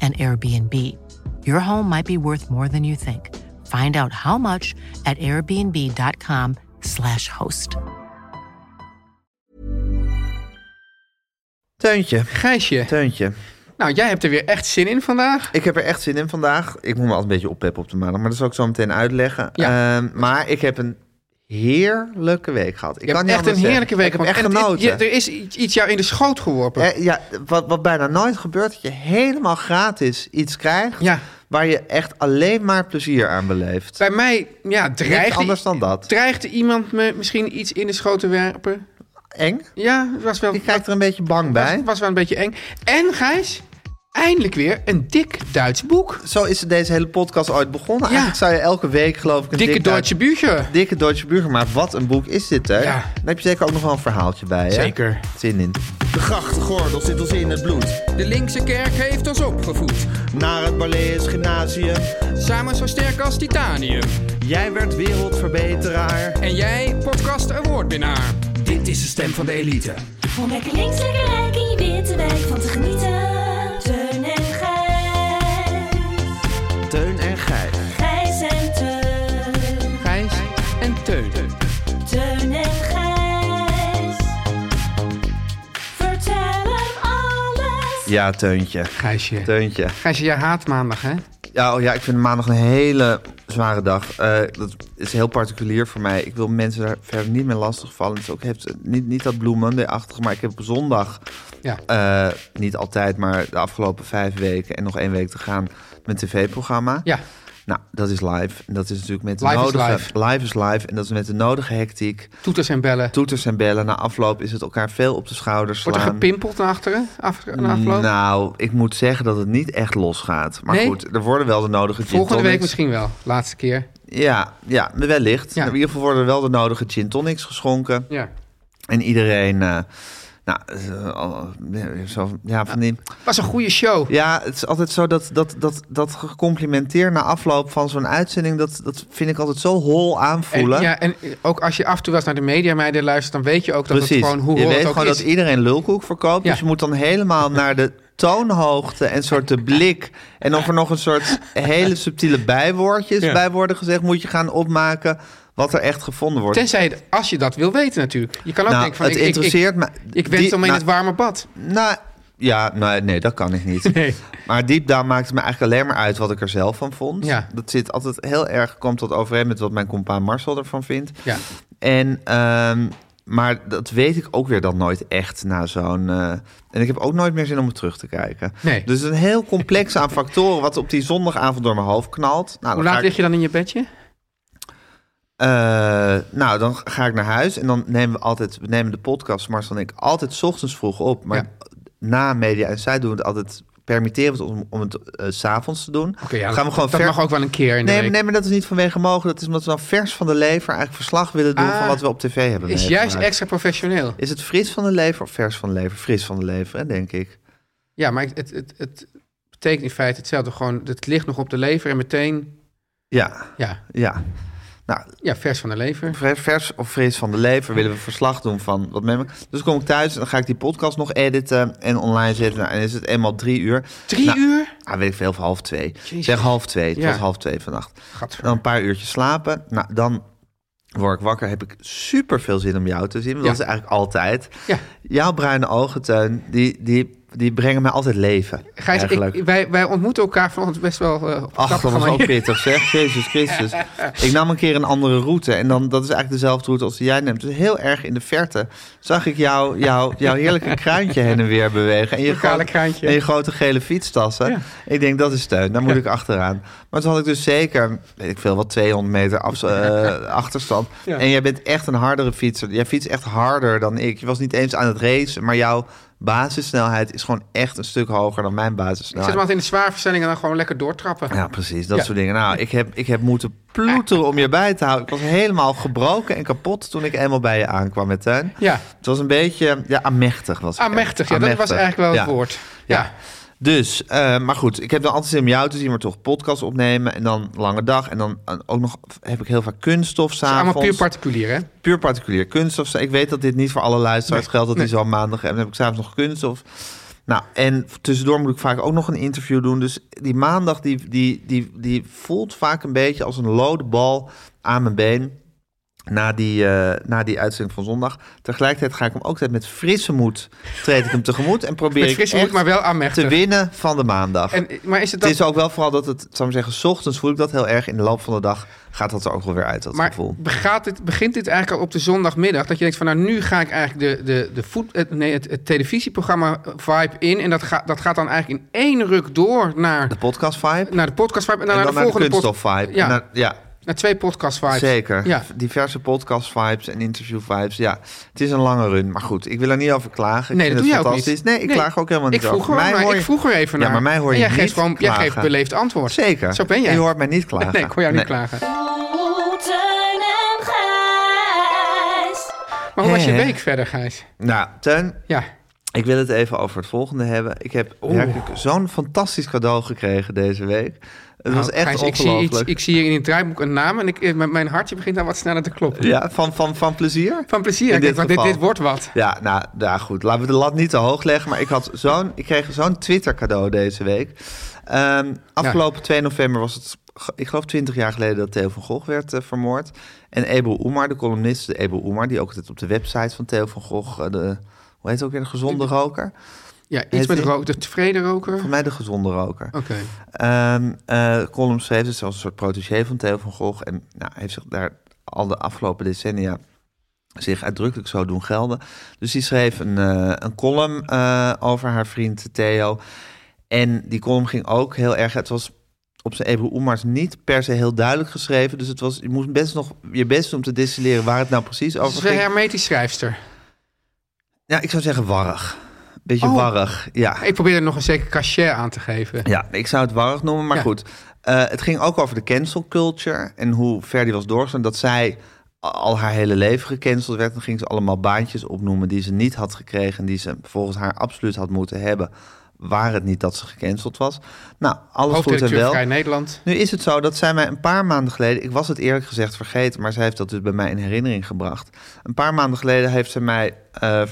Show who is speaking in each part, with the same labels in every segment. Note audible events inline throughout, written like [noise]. Speaker 1: an Airbnb. Your home might be worth more than you think. Find out how much at airbnb.com/slash host.
Speaker 2: Teuntje,
Speaker 3: Gijsje,
Speaker 2: Teuntje.
Speaker 3: nou jij hebt er weer echt zin in vandaag.
Speaker 2: Ik heb er echt zin in vandaag. Ik moet me altijd een beetje oppeppen op de maandag, maar dat zal ik zo meteen uitleggen.
Speaker 3: Ja.
Speaker 2: Ehm, maar ik heb een heerlijke week gehad. Ik
Speaker 3: Je
Speaker 2: kan
Speaker 3: hebt
Speaker 2: niet
Speaker 3: echt een
Speaker 2: anders
Speaker 3: heerlijke
Speaker 2: zeggen.
Speaker 3: week
Speaker 2: Ik heb
Speaker 3: gehad.
Speaker 2: echt
Speaker 3: En het-
Speaker 2: genoten.
Speaker 3: je- er is iets iets jou in de schoot geworpen.
Speaker 2: Eh, ja, wat, wat bijna nooit gebeurt, dat je helemaal gratis iets krijgt
Speaker 3: Ja.
Speaker 2: waar je echt alleen maar plezier aan beleeft.
Speaker 3: Bij mij ja, dreigt,
Speaker 2: Niks anders dan dat.
Speaker 3: dreigt iemand me misschien iets in de schoot te werpen.
Speaker 2: Eng?
Speaker 3: Ja, het was wel,
Speaker 2: Ik krijg er een beetje bang bij.
Speaker 3: was, was wel een beetje eng. En Gijs, eindelijk weer een dik Duits boek.
Speaker 2: Zo is deze hele podcast ooit begonnen. Eigenlijk zou je elke week geloof ik een
Speaker 3: Dikke
Speaker 2: dik
Speaker 3: Duitse Bücher.
Speaker 2: Dikke Deutsche Burger, maar wat een boek is dit, hè?
Speaker 3: Ja.
Speaker 2: Daar heb je zeker ook nog wel een verhaaltje bij, hè?
Speaker 3: Zeker.
Speaker 2: Zin in.
Speaker 4: De grachtgordel zit ons in het bloed.
Speaker 5: De linkse kerk heeft ons opgevoed.
Speaker 4: Naar het Barlees Gymnasium.
Speaker 5: Samen zo sterk als titanium.
Speaker 4: Jij werd wereldverbeteraar.
Speaker 5: En jij, podcast awardwinnaar. Dit is de stem van de elite.
Speaker 6: Om lekker links, lekker rijk in je witte wijk van te genieten. Teun en Gijs.
Speaker 2: Teun en Gijs.
Speaker 6: Gijs en Teun.
Speaker 5: Gijs en Teun.
Speaker 6: Teun en Gijs. Vertel hem alles.
Speaker 2: Ja, Teuntje.
Speaker 3: Gijsje.
Speaker 2: Teuntje.
Speaker 3: Gijsje, jij haat maandag hè?
Speaker 2: Ja, oh ja, ik vind maandag een hele zware dag. Eh, dat is heel particulier voor mij. Ik wil mensen daar verder niet mee lastigvallen. Het is ook heeft, niet, niet dat Blue Monday-achtige, maar ik heb op zondag...
Speaker 3: Ja.
Speaker 2: eh, niet altijd, maar de afgelopen vijf weken en nog één week te gaan... mijn tv-programma.
Speaker 3: Ja.
Speaker 2: Nou, dat is live. En dat is natuurlijk met de
Speaker 3: Live is
Speaker 2: nodige...
Speaker 3: live.
Speaker 2: is live. En dat is met de nodige hectiek.
Speaker 3: Toeters en bellen.
Speaker 2: Toeters en bellen. Na afloop is het elkaar veel op de schouders slaan.
Speaker 3: Wordt er gepimpeld naar achteren? Af, na afloop?
Speaker 2: Nou, ik moet zeggen dat het niet echt losgaat. Maar
Speaker 3: Nee?
Speaker 2: goed, er worden wel de nodige gin
Speaker 3: Volgende
Speaker 2: tonics.
Speaker 3: week misschien wel. Laatste keer.
Speaker 2: Ja, ja wellicht.
Speaker 3: Ja.
Speaker 2: In ieder geval worden er wel de nodige gin tonics geschonken.
Speaker 3: Ja.
Speaker 2: En iedereen... eh, nou, eh, al- ja, zo, ja, van die...
Speaker 3: Was een goede show.
Speaker 2: Ja, het is altijd zo dat, dat, dat, dat gecomplimenteer na afloop van zo'n uitzending... Dat, dat vind ik altijd zo hol aanvoelen.
Speaker 3: En, ja, en ook als je af en toe wel eens naar de mediameiden luistert, dan weet je ook dat
Speaker 2: Precies.
Speaker 3: het gewoon hoe
Speaker 2: je
Speaker 3: hoor
Speaker 2: weet
Speaker 3: het ook
Speaker 2: gewoon
Speaker 3: is.
Speaker 2: dat iedereen lulkoek verkoopt.
Speaker 3: Ja.
Speaker 2: Dus je moet dan helemaal naar de toonhoogte en soort de blik. En of er nog een soort hele subtiele bijwoordjes
Speaker 3: Ja.
Speaker 2: bij worden gezegd, moet je gaan opmaken wat er echt gevonden wordt.
Speaker 3: Tenzij, als je dat wil weten natuurlijk. Je kan ook
Speaker 2: Nou,
Speaker 3: denken van,
Speaker 2: het
Speaker 3: ik, ik-
Speaker 2: interesseert
Speaker 3: ik,
Speaker 2: me-
Speaker 3: Ik,
Speaker 2: die-
Speaker 3: wens om in
Speaker 2: nou-
Speaker 3: het warme bad.
Speaker 2: Nou, ja, nee, nee, dat kan ik niet.
Speaker 3: [laughs] Nee.
Speaker 2: Maar diep down maakt het me eigenlijk alleen maar uit wat ik er zelf van vond.
Speaker 3: Ja.
Speaker 2: Dat zit altijd heel erg, komt tot overeen met wat mijn compaan Marcel ervan vindt.
Speaker 3: Ja.
Speaker 2: En, ehm, maar dat weet ik ook weer dan nooit echt na zo'n... eh, en ik heb ook nooit meer zin om het terug te kijken.
Speaker 3: Nee.
Speaker 2: Dus een heel complex aan factoren wat op die zondagavond door mijn hoofd knalt. Nou,
Speaker 3: Hoe
Speaker 2: dan
Speaker 3: laat
Speaker 2: ga ik-
Speaker 3: lig je dan in je bedje?
Speaker 2: eh, nou, dan ga ik naar huis en dan nemen we altijd, we nemen de podcast, Marcel en ik, altijd 's ochtends vroeg op. Maar na media en zij doen we het altijd, permitteren we het om, om het eh, s s'avonds te doen.
Speaker 3: Oké, ja,
Speaker 2: gaan we gewoon
Speaker 3: dat
Speaker 2: ver-
Speaker 3: mag ook wel een keer in de
Speaker 2: Nee,
Speaker 3: week.
Speaker 2: maar- nee, maar dat is niet vanwege mogen. Dat is omdat we dan vers van de lever eigenlijk verslag willen doen
Speaker 3: Ah,
Speaker 2: van wat we op tv hebben.
Speaker 3: is
Speaker 2: meegemaakt.
Speaker 3: juist extra professioneel.
Speaker 2: Is het fris van de lever of vers van de lever? Fris van de lever, hè, denk ik.
Speaker 3: Ja, maar het, het, het betekent in feite hetzelfde. Gewoon, het ligt nog op de lever en meteen,
Speaker 2: Ja,
Speaker 3: ja,
Speaker 2: ja. Nou,
Speaker 3: ja vers van de lever.
Speaker 2: Ver- vers of fris van de lever willen we verslag doen van wat mem ik. Dus kom ik thuis en dan ga ik die podcast nog editen en online zetten. Nou, en is het eenmaal drie uur.
Speaker 3: Drie
Speaker 2: Nou,
Speaker 3: uur?
Speaker 2: Ah, weet ik veel, of half twee. Zeg half twee. Het
Speaker 3: Ja.
Speaker 2: was half twee vannacht.
Speaker 3: Gadver.
Speaker 2: Dan een paar uurtjes slapen. Nou, dan word ik wakker. Heb ik super veel zin om jou te zien. want
Speaker 3: Ja.
Speaker 2: Dat is eigenlijk altijd.
Speaker 3: Ja.
Speaker 2: Jouw bruine ogen, Teun, die, die die brengen mij altijd leven.
Speaker 3: Gijs, ik-
Speaker 2: eigenlijk.
Speaker 3: wij, wij ontmoeten elkaar vanochtend best wel eh
Speaker 2: Ach,
Speaker 3: op een
Speaker 2: dat
Speaker 3: grappige
Speaker 2: was ook
Speaker 3: manier.
Speaker 2: pittig, zeg. Jezus Christus. Ik nam een keer een andere route. En dan, dat is eigenlijk dezelfde route als die jij neemt. Dus heel erg in de verte zag ik jou, jou, jouw heerlijke kruintje heen en weer bewegen. En je,
Speaker 3: Lokale
Speaker 2: grote-
Speaker 3: kruintje.
Speaker 2: en je grote gele fietstassen. Ik denk, dat is steun. Daar moet ik achteraan. Maar toen had ik dus zeker, weet ik veel, wat 200 meter afs- eh, achterstand.
Speaker 3: Ja.
Speaker 2: En jij bent echt een hardere fietser. Jij fietst echt harder dan ik. Je was niet eens aan het racen, maar jouw basissnelheid is gewoon echt een stuk hoger dan mijn
Speaker 3: Ik zet
Speaker 2: basissnelheid.
Speaker 3: hem altijd in de zwaarverstelling en dan gewoon lekker doortrappen.
Speaker 2: Ja, precies. Dat
Speaker 3: Ja.
Speaker 2: soort dingen. Nou, ik heb, ik heb moeten ploeteren om je bij te houden. Ik was helemaal gebroken en kapot toen ik eenmaal bij je aankwam met tuin.
Speaker 3: Ja.
Speaker 2: Het was een beetje ja, amechtig. Was het
Speaker 3: Amechtig, ja,
Speaker 2: echt.
Speaker 3: dat was eigenlijk wel het
Speaker 2: Ja.
Speaker 3: woord.
Speaker 2: Ja.
Speaker 3: Ja.
Speaker 2: Dus, eh, maar goed, ik heb dan altijd zin om jou te zien, maar toch podcast opnemen en dan lange dag. En dan eh, ook nog heb ik heel vaak kunststof
Speaker 3: Het is
Speaker 2: s'avonds.
Speaker 3: allemaal puur particulier, hè?
Speaker 2: puur particulier kunststof. Ik weet dat dit niet voor alle luisteraars geldt. Dat is al maandag en dan heb ik s'avonds nog kunststof. Nou, en tussendoor moet ik vaak ook nog een interview doen. Dus die maandag die, die, die, die voelt vaak een beetje als een lode bal aan mijn been. Na die, eh, na die uitzending van zondag. Tegelijkertijd ga ik hem ook tijd met frisse moed. Treed ik hem tegemoet en probeer
Speaker 3: Met frisse
Speaker 2: ik
Speaker 3: moed,
Speaker 2: echt
Speaker 3: maar wel
Speaker 2: te
Speaker 3: aanmechtig.
Speaker 2: winnen van de maandag.
Speaker 3: En, eh, maar is het
Speaker 2: het
Speaker 3: dan...
Speaker 2: is ook wel vooral dat het, zou ik maar zeggen, 's ochtends voel ik dat heel erg. In de loop van de dag gaat dat er ook wel weer uit, dat
Speaker 3: Maar
Speaker 2: gevoel.
Speaker 3: gaat dit, begint dit eigenlijk al op de zondagmiddag? Dat je denkt van nou, nu ga ik eigenlijk de, de, de voet, het, nee, het, het televisieprogramma eh, vibe in. En dat, ga, dat gaat dan eigenlijk in één ruk door naar,
Speaker 2: De podcast vibe.
Speaker 3: naar de podcast vibe. En dan,
Speaker 2: en dan
Speaker 3: naar de volgende pod-
Speaker 2: kunststof vibe.
Speaker 3: Ja,
Speaker 2: Ja, ja
Speaker 3: naar twee podcast vibes.
Speaker 2: zeker.
Speaker 3: Ja.
Speaker 2: Diverse podcast vibes en interview vibes. Ja, het is een lange run. Maar goed, ik wil er niet over klagen. Ik
Speaker 3: Nee,
Speaker 2: vind
Speaker 3: dat
Speaker 2: het
Speaker 3: doe jij ook
Speaker 2: fantastisch.
Speaker 3: niet.
Speaker 2: Nee, ik klaag ook helemaal niet
Speaker 3: ik vroeg
Speaker 2: over.
Speaker 3: er-
Speaker 2: Mij
Speaker 3: maar
Speaker 2: hoor
Speaker 3: Ik
Speaker 2: je-
Speaker 3: vroeg er even naar.
Speaker 2: Ja, maar mij hoor
Speaker 3: En
Speaker 2: je
Speaker 3: jij
Speaker 2: niet
Speaker 3: geeft gewoon, Jij geeft
Speaker 2: klagen.
Speaker 3: beleefd antwoord.
Speaker 2: Zeker.
Speaker 3: Zo ben jij.
Speaker 2: Je hoort mij niet klagen.
Speaker 3: [laughs] Nee, ik hoor jou niet
Speaker 2: Nee.
Speaker 3: klagen. Maar
Speaker 6: Oh, Teun en Gijs.
Speaker 3: hoe was je
Speaker 2: Hè, hè?
Speaker 3: week verder, Gijs?
Speaker 2: Nou, Teun,
Speaker 3: Ja.
Speaker 2: ik wil het even over het volgende hebben. Ik heb werkelijk zo'n fantastisch cadeau gekregen deze week. Het was echt
Speaker 3: Nou, Gijs, ik zie, iets,
Speaker 2: ongelooflijk.
Speaker 3: ik zie hier in het draaiboek een naam en ik, eh, mijn- mijn hartje begint dan wat sneller te kloppen.
Speaker 2: Ja, van, van, van plezier?
Speaker 3: Van plezier.
Speaker 2: In
Speaker 3: Ik
Speaker 2: dit
Speaker 3: denk, want dit,
Speaker 2: geval.
Speaker 3: dit wordt wat.
Speaker 2: Ja, nou, nou goed. Laten we de lat niet te hoog leggen. Maar ik, had zo'n, ik kreeg zo'n Twitter-cadeau deze week. Ehm, afgelopen 2 november was het, ge- ik geloof 20 jaar geleden, dat Theo van Gogh werd eh, vermoord. En Ebru Oemar, de columnist Ebru Oemar, die ook altijd op de website van Theo van Gogh, eh, de, hoe heet het ook weer, de gezonde roker?
Speaker 3: Ja, iets
Speaker 2: Heet
Speaker 3: met
Speaker 2: die?
Speaker 3: rook. De tevreden roker.
Speaker 2: Voor
Speaker 3: Oké.
Speaker 2: mij de gezonde roker. Ehm eh, column schreef, dus als een soort protégé van Theo van Gogh. En nou, heeft zich daar al de afgelopen decennia zich uitdrukkelijk zo doen gelden. Dus die schreef een, eh, een column eh, over haar vriend Theo. En die column ging ook heel erg... Het was op zijn Ebru Oemars niet per se heel duidelijk geschreven. Dus het was, je moest best nog je best doen om te distilleren waar het nou precies
Speaker 3: Dat
Speaker 2: over
Speaker 3: is een
Speaker 2: ging.
Speaker 3: hermetisch schrijfster.
Speaker 2: Ja, ik zou zeggen warrig. Beetje
Speaker 3: Oh.
Speaker 2: warrig, ja.
Speaker 3: Ik probeer er nog een zeker cachet aan te geven.
Speaker 2: Ja, ik zou het warrig noemen, maar
Speaker 3: Ja.
Speaker 2: goed. Eh, het ging ook over de cancel culture en hoe ver die was doorgegaan. Dat zij al haar hele leven gecanceld werd. Dan ging ze allemaal baantjes opnoemen die ze niet had gekregen... en die ze volgens haar absoluut had moeten hebben... waar het niet dat ze gecanceld was. Nou, alles goed en
Speaker 3: Hoofdredacteur
Speaker 2: wel.
Speaker 3: Vrij Nederland.
Speaker 2: Nu is het zo dat zij mij een paar maanden geleden, ik was het eerlijk gezegd vergeten, maar zij heeft dat dus bij mij in herinnering gebracht. Een paar maanden geleden heeft zij mij eh, eh,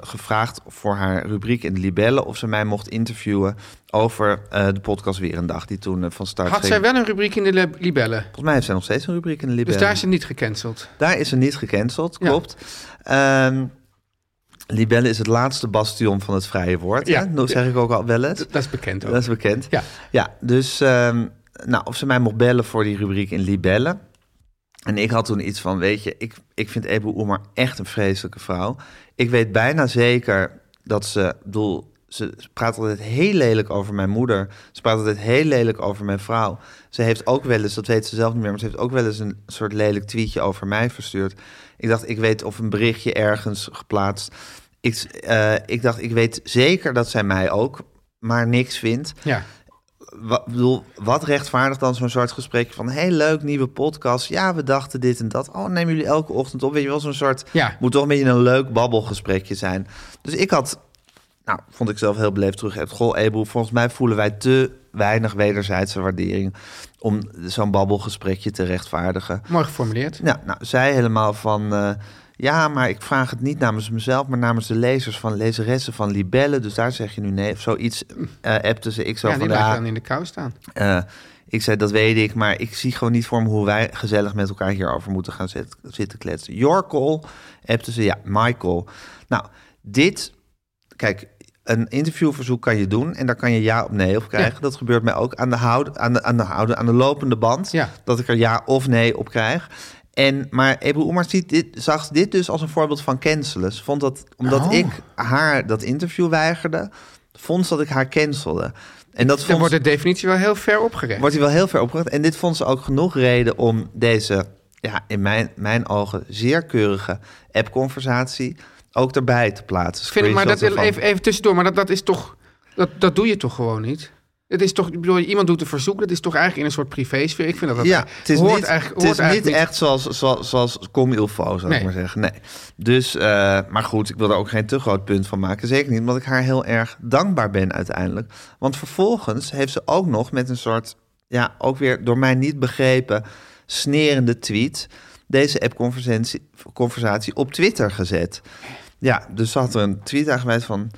Speaker 2: gevraagd voor haar rubriek in de Libelle of ze mij mocht interviewen over eh, de podcast Weer een Dag, die toen eh, van start
Speaker 3: Had
Speaker 2: ging.
Speaker 3: zij wel een rubriek in de lib- libellen?
Speaker 2: Volgens mij heeft zij nog steeds een rubriek in de Libelle.
Speaker 3: Dus daar is ze niet gecanceld.
Speaker 2: Daar is ze niet gecanceld,
Speaker 3: Ja.
Speaker 2: klopt. Ehm, Libelle is het laatste bastion van het vrije woord.
Speaker 3: Ja.
Speaker 2: Ja. Dat zeg ik ook al wel eens.
Speaker 3: Dat, dat is bekend ook.
Speaker 2: Dat is bekend.
Speaker 3: Ja.
Speaker 2: ja dus ehm, nou, of ze mij mocht bellen voor die rubriek in Libellen. En ik had toen iets van, weet je, ik, ik vind Ebu Oemar echt een vreselijke vrouw. Ik weet bijna zeker dat ze, ik bedoel, ze ze praat altijd heel lelijk over mijn moeder. Ze praat altijd heel lelijk over mijn vrouw. Ze heeft ook wel eens, dat weet ze zelf niet meer, maar ze heeft ook wel eens een soort lelijk tweetje over mij verstuurd. Ik dacht, ik weet of een berichtje ergens geplaatst. Ik, eh, ik dacht, ik weet zeker dat zij mij ook maar niks vindt.
Speaker 3: Ja.
Speaker 2: Wat, bedoel, wat rechtvaardigt dan zo'n soort gesprek van... hey, leuk, nieuwe podcast. Ja, we dachten dit en dat. Oh, nemen jullie elke ochtend op? Weet je wel, zo'n soort...
Speaker 3: Ja.
Speaker 2: moet toch een beetje een leuk babbelgesprekje zijn. Dus ik had... Nou, vond ik zelf heel beleefd terug. Goh, Ebel, volgens mij voelen wij te weinig wederzijdse waardering... om zo'n babbelgesprekje te rechtvaardigen.
Speaker 3: Mooi geformuleerd.
Speaker 2: Nou, nou zij helemaal van... eh, ja, maar ik vraag het niet namens mezelf, maar namens de lezers van lezeressen van Libelle. Dus daar zeg je nu nee. Of zoiets eh appte ze. Ik zo
Speaker 3: Ja,
Speaker 2: van
Speaker 3: die laat je
Speaker 2: ja,
Speaker 3: dan in de kou staan.
Speaker 2: eh, ik zei, dat weet ik, maar ik zie gewoon niet voor me hoe wij gezellig met elkaar hierover moeten gaan zit- zitten kletsen. Your call, appte ze, ja, Michael. Nou, dit, kijk, Een interviewverzoek kan je doen en daar kan je ja of nee op krijgen.
Speaker 3: Ja.
Speaker 2: Dat gebeurt mij ook aan de, houd, aan de, aan de, houden, aan de lopende band.
Speaker 3: Ja.
Speaker 2: Dat ik er ja of nee op krijg. En, maar Ebru Oemar ziet dit, zag dit dus als een voorbeeld van cancelen. Ze vond dat, omdat
Speaker 3: Oh.
Speaker 2: ik haar dat interview weigerde, vond ze dat ik haar cancelde. En dat
Speaker 3: Dan
Speaker 2: vond,
Speaker 3: wordt de definitie wel heel ver opgerekt.
Speaker 2: wordt hij wel heel ver opgebracht. En dit vond ze ook genoeg reden om deze, ja, in mijn, mijn ogen, zeer keurige app-conversatie ook erbij te plaatsen.
Speaker 3: Ik vind, maar dat,
Speaker 2: Screenshot
Speaker 3: even,
Speaker 2: ervan.
Speaker 3: even tussendoor, maar dat, dat is toch. Dat, dat doe je toch gewoon niet? Het is toch, ik bedoel, iemand doet een verzoek, dat is toch eigenlijk in een soort privésfeer. Ik vind dat dat
Speaker 2: Ja, het is
Speaker 3: hoort
Speaker 2: niet,
Speaker 3: eigenlijk,
Speaker 2: het
Speaker 3: hoort
Speaker 2: is niet
Speaker 3: eigenlijk niet.
Speaker 2: echt zoals, zoals, zoals Comme il faut, zou
Speaker 3: Nee.
Speaker 2: ik maar zeggen. Nee. Dus, eh, maar goed, ik wil er ook geen te groot punt van maken. Zeker niet, omdat ik haar heel erg dankbaar ben uiteindelijk. Want vervolgens heeft ze ook nog met een soort, ja, ook weer door mij niet begrepen, snerende tweet deze app-conversatie conversatie op Twitter gezet. Ja, dus ze had er een tweet aangewezen van...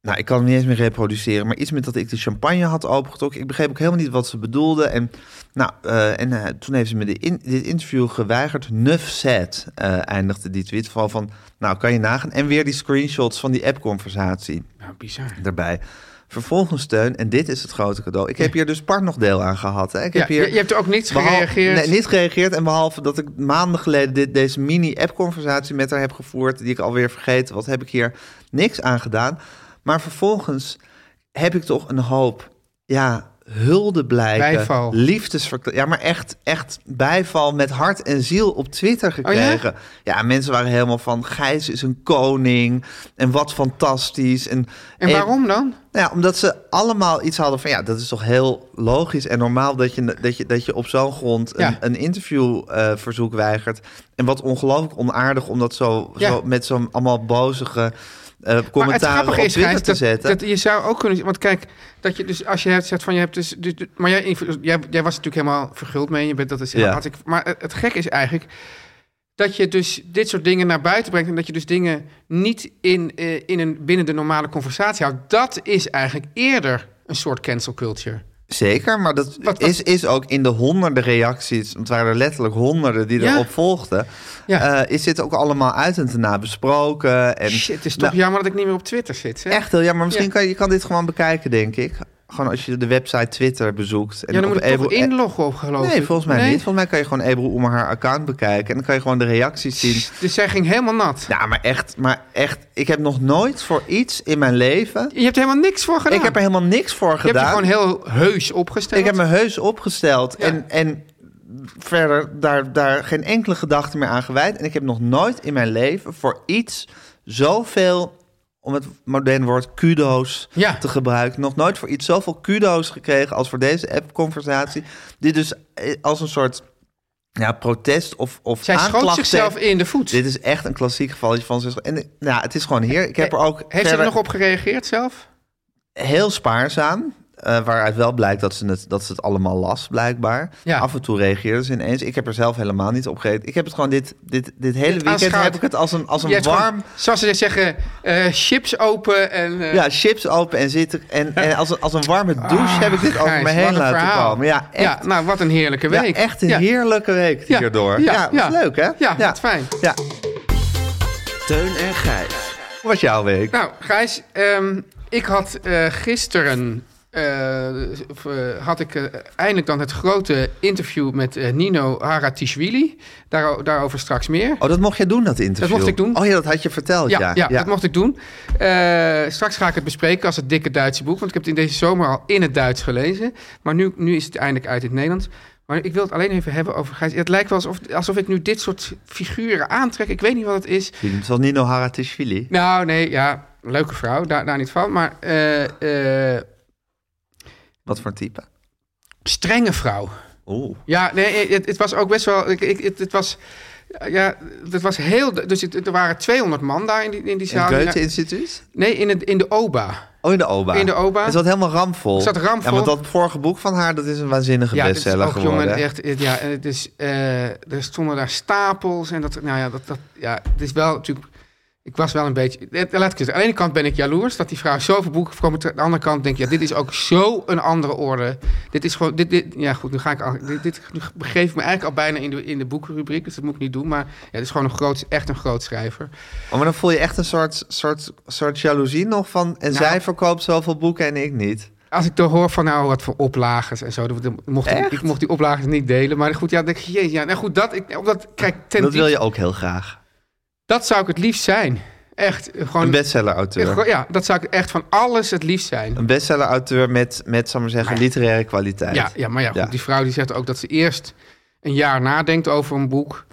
Speaker 2: Nou, ik kan hem niet eens meer reproduceren. Maar iets met dat ik de champagne had opengetrokken. Ik begreep ook helemaal niet wat ze bedoelde. En, nou, eh, en eh, toen heeft ze me de in- dit interview geweigerd. Nuf said, eh, eindigde die tweet. Vooral van, nou, kan je nagaan. En weer die screenshots van die app-conversatie
Speaker 3: Nou, bizar.
Speaker 2: erbij. Vervolgens steun, en dit is het grote cadeau. Ik heb hier dus part nog deel aan gehad. Hè. Ik
Speaker 3: Ja,
Speaker 2: heb hier
Speaker 3: je, je hebt er ook niets
Speaker 2: Behal-
Speaker 3: gereageerd.
Speaker 2: Nee, niet gereageerd. En behalve dat ik maanden geleden dit, deze mini-app-conversatie met haar heb gevoerd... die ik alweer vergeten, wat heb ik hier niks aan gedaan. Maar vervolgens heb ik toch een hoop ja, huldeblijken...
Speaker 3: Bijval.
Speaker 2: liefdesverkla- Ja, maar echt, echt bijval met hart en ziel op Twitter
Speaker 3: Oh
Speaker 2: gekregen. ja? mensen waren helemaal van... Gijs is een koning en wat fantastisch. En,
Speaker 3: En waarom dan?
Speaker 2: nou ja, omdat ze allemaal iets hadden van ja, dat is toch heel logisch en normaal dat je, dat je, dat je op zo'n grond een,
Speaker 3: Ja.
Speaker 2: een interviewverzoek weigert. En wat ongelooflijk onaardig om dat zo,
Speaker 3: Ja.
Speaker 2: zo met zo'n allemaal bozige eh,
Speaker 3: Maar het
Speaker 2: commentaren op
Speaker 3: grappige is,
Speaker 2: Twitter
Speaker 3: Gijs,
Speaker 2: te
Speaker 3: dat,
Speaker 2: zetten.
Speaker 3: dat je zou ook kunnen... Want kijk, dat je dus als je hebt zegt van je hebt dus... dus- dus- maar jij, jij, jij was natuurlijk helemaal verguld mee. Je bent, dat is
Speaker 2: Ja.
Speaker 3: had ik, maar het, het gekke is eigenlijk dat je dus dit soort dingen naar buiten brengt... en dat je dus dingen niet in, eh, in een, binnen de normale conversatie houdt. Dat is eigenlijk eerder een soort cancel culture.
Speaker 2: Zeker, maar dat
Speaker 3: Wat- wat-
Speaker 2: Is, is ook in de honderden reacties, want het waren er letterlijk honderden die
Speaker 3: Ja.
Speaker 2: erop volgden,
Speaker 3: Ja.
Speaker 2: eh, is dit ook allemaal uit en te na besproken. En,
Speaker 3: Shit, het is toch
Speaker 2: Nou,
Speaker 3: jammer dat ik niet meer op Twitter zit. Hè?
Speaker 2: Echt heel ja, maar misschien
Speaker 3: Ja.
Speaker 2: kan je kan dit gewoon bekijken, denk ik. Gewoon als je de website Twitter bezoekt. En
Speaker 3: Ja, dan
Speaker 2: op
Speaker 3: moet ik toch
Speaker 2: Ebru- Eh,
Speaker 3: inloggen op, geloof ik.
Speaker 2: Nee, volgens mij
Speaker 3: Nee?
Speaker 2: niet. Volgens mij kan je gewoon Ebru Oemer haar account bekijken. En dan kan je gewoon de reacties zien.
Speaker 3: Dus zij ging helemaal nat.
Speaker 2: Nou, maar echt, maar echt. Ik heb nog nooit voor iets in mijn leven...
Speaker 3: Je hebt er helemaal niks voor gedaan.
Speaker 2: Ik heb er helemaal niks voor
Speaker 3: je hebt je
Speaker 2: gedaan.
Speaker 3: gewoon heel heus opgesteld.
Speaker 2: Ik heb me heus opgesteld.
Speaker 3: Ja.
Speaker 2: En, en verder daar, daar geen enkele gedachte meer aan gewijd. En ik heb nog nooit in mijn leven voor iets zoveel... om het moderne woord kudo's
Speaker 3: Ja.
Speaker 2: te gebruiken... nog nooit voor iets zoveel kudo's gekregen als voor deze app-conversatie. Dit dus eh, als een soort ja, protest of, of
Speaker 3: Zij schoot
Speaker 2: aanklacht
Speaker 3: zichzelf
Speaker 2: tegen-
Speaker 3: in de voet.
Speaker 2: Dit is echt een klassiek gevalletje van zich. En eh, nou, het is gewoon hier. Ik heb er ook
Speaker 3: Heeft ze er
Speaker 2: verder-
Speaker 3: nog op gereageerd zelf?
Speaker 2: heel spaarzaam. eh, waaruit wel blijkt dat ze, het, dat ze het allemaal las, blijkbaar.
Speaker 3: Ja.
Speaker 2: Af en toe reageerde ze ineens. Ik heb er zelf helemaal niet op gereageerd. Ik heb het gewoon dit, dit, dit hele weekend...
Speaker 3: aanschouwt-
Speaker 2: heb ik het als een, als
Speaker 3: Je
Speaker 2: een
Speaker 3: hebt
Speaker 2: warm...
Speaker 3: gewoon, zoals ze zeggen, eh, chips open en... eh,
Speaker 2: Ja, chips open en zitten. En, en als, een, als een warme douche heb ik dit over
Speaker 3: Ah, Gijs,
Speaker 2: me
Speaker 3: wat
Speaker 2: heen
Speaker 3: een
Speaker 2: laten
Speaker 3: verhaal.
Speaker 2: komen. Ja, echt,
Speaker 3: Ja, nou, wat een heerlijke
Speaker 2: ja,
Speaker 3: week.
Speaker 2: echt een
Speaker 3: Ja.
Speaker 2: heerlijke week
Speaker 3: Ja,
Speaker 2: hierdoor.
Speaker 3: ja,
Speaker 2: Ja, was
Speaker 3: ja.
Speaker 2: leuk, hè?
Speaker 3: Ja, wat fijn.
Speaker 2: Ja.
Speaker 4: Teun en Gijs.
Speaker 2: Hoe was jouw week?
Speaker 3: Nou, Gijs, ehm, ik had eh, gisteren... eh, of, eh, had ik eh, eindelijk dan het grote interview met eh, Nino Haratishvili. Daar, daarover straks meer.
Speaker 2: Oh, dat mocht je doen, dat interview?
Speaker 3: Dat mocht ik doen.
Speaker 2: Oh ja, dat had je verteld, ja.
Speaker 3: ja, dat mocht ik doen. Eh, straks ga ik het bespreken als het dikke Duitse boek. Want ik heb het in deze zomer al in het Duits gelezen. Maar nu, nu is het eindelijk uit in het Nederlands. Maar ik wil het alleen even hebben over Gijs. Het lijkt wel alsof, alsof ik nu dit soort figuren aantrek. Ik weet niet wat het is.
Speaker 2: Het was Nino Haratishvili.
Speaker 3: Nou, nee, ja, leuke vrouw. Daar, daar niet van. Maar eh, eh,
Speaker 2: Wat voor type?
Speaker 3: strenge vrouw.
Speaker 2: Oeh.
Speaker 3: Ja, nee, eh, het, het was ook best wel. Ik, ik, het, het was. eh, Ja, het was heel. Dus het- er waren 200 man daar in die, in die
Speaker 2: In het
Speaker 3: zaal.
Speaker 2: Goethe-instituut?
Speaker 3: Nee, in, het, in de OBA.
Speaker 2: Oh, in de OBA.
Speaker 3: In de OBA.
Speaker 2: Het zat helemaal ramvol.
Speaker 3: Het zat ramvol.
Speaker 2: Ja, want dat vorige boek van haar, dat is een waanzinnige
Speaker 3: dit is
Speaker 2: bestseller
Speaker 3: ook,
Speaker 2: geworden.
Speaker 3: Jongen, echt, eh, ja, eh, dus, eh, er stonden daar stapels en dat, nou ja, dat, dat, ja, het is wel natuurlijk. Ik was wel een beetje... eh, Laat ik zeggen, aan de ene kant ben ik jaloers dat die vrouw zoveel boeken heeft verkocht. Maar Aan de andere kant denk ik, ja, dit is ook zo een andere orde. Dit is gewoon... Dit, dit, ja, goed, nu ga ik al... Dit, dit nu begeef ik me eigenlijk al bijna in de, in de boekenrubriek. Dus dat moet ik niet doen. Maar ja, het is gewoon een groot, echt een groot schrijver.
Speaker 2: Oh, maar dan voel je echt een soort, soort, soort jaloezie nog van... en
Speaker 3: Nou.
Speaker 2: zij verkoopt zoveel boeken en ik niet.
Speaker 3: Als ik dan hoor van nou wat voor oplages en zo, dan dan mocht ik,
Speaker 2: Echt?
Speaker 3: ik mocht die oplages niet delen. Maar goed, ja, dan denk ik, jezus, ja, nou goed, dat, ik, omdat, kijk, ten
Speaker 2: dat wil
Speaker 3: diep-
Speaker 2: je ook heel graag.
Speaker 3: Oh, dat zou ik het liefst zijn. Echt, eh, gewoon,
Speaker 2: Een bestseller-auteur.
Speaker 3: gewoon- ja, dat zou ik echt van alles het liefst zijn.
Speaker 2: Een bestseller-auteur met, met, zal ik maar zeggen, literaire kwaliteit.
Speaker 3: Ja, ja maar ja, goed,
Speaker 2: Ja.
Speaker 3: die vrouw die zegt ook dat ze eerst een jaar nadenkt over een boek.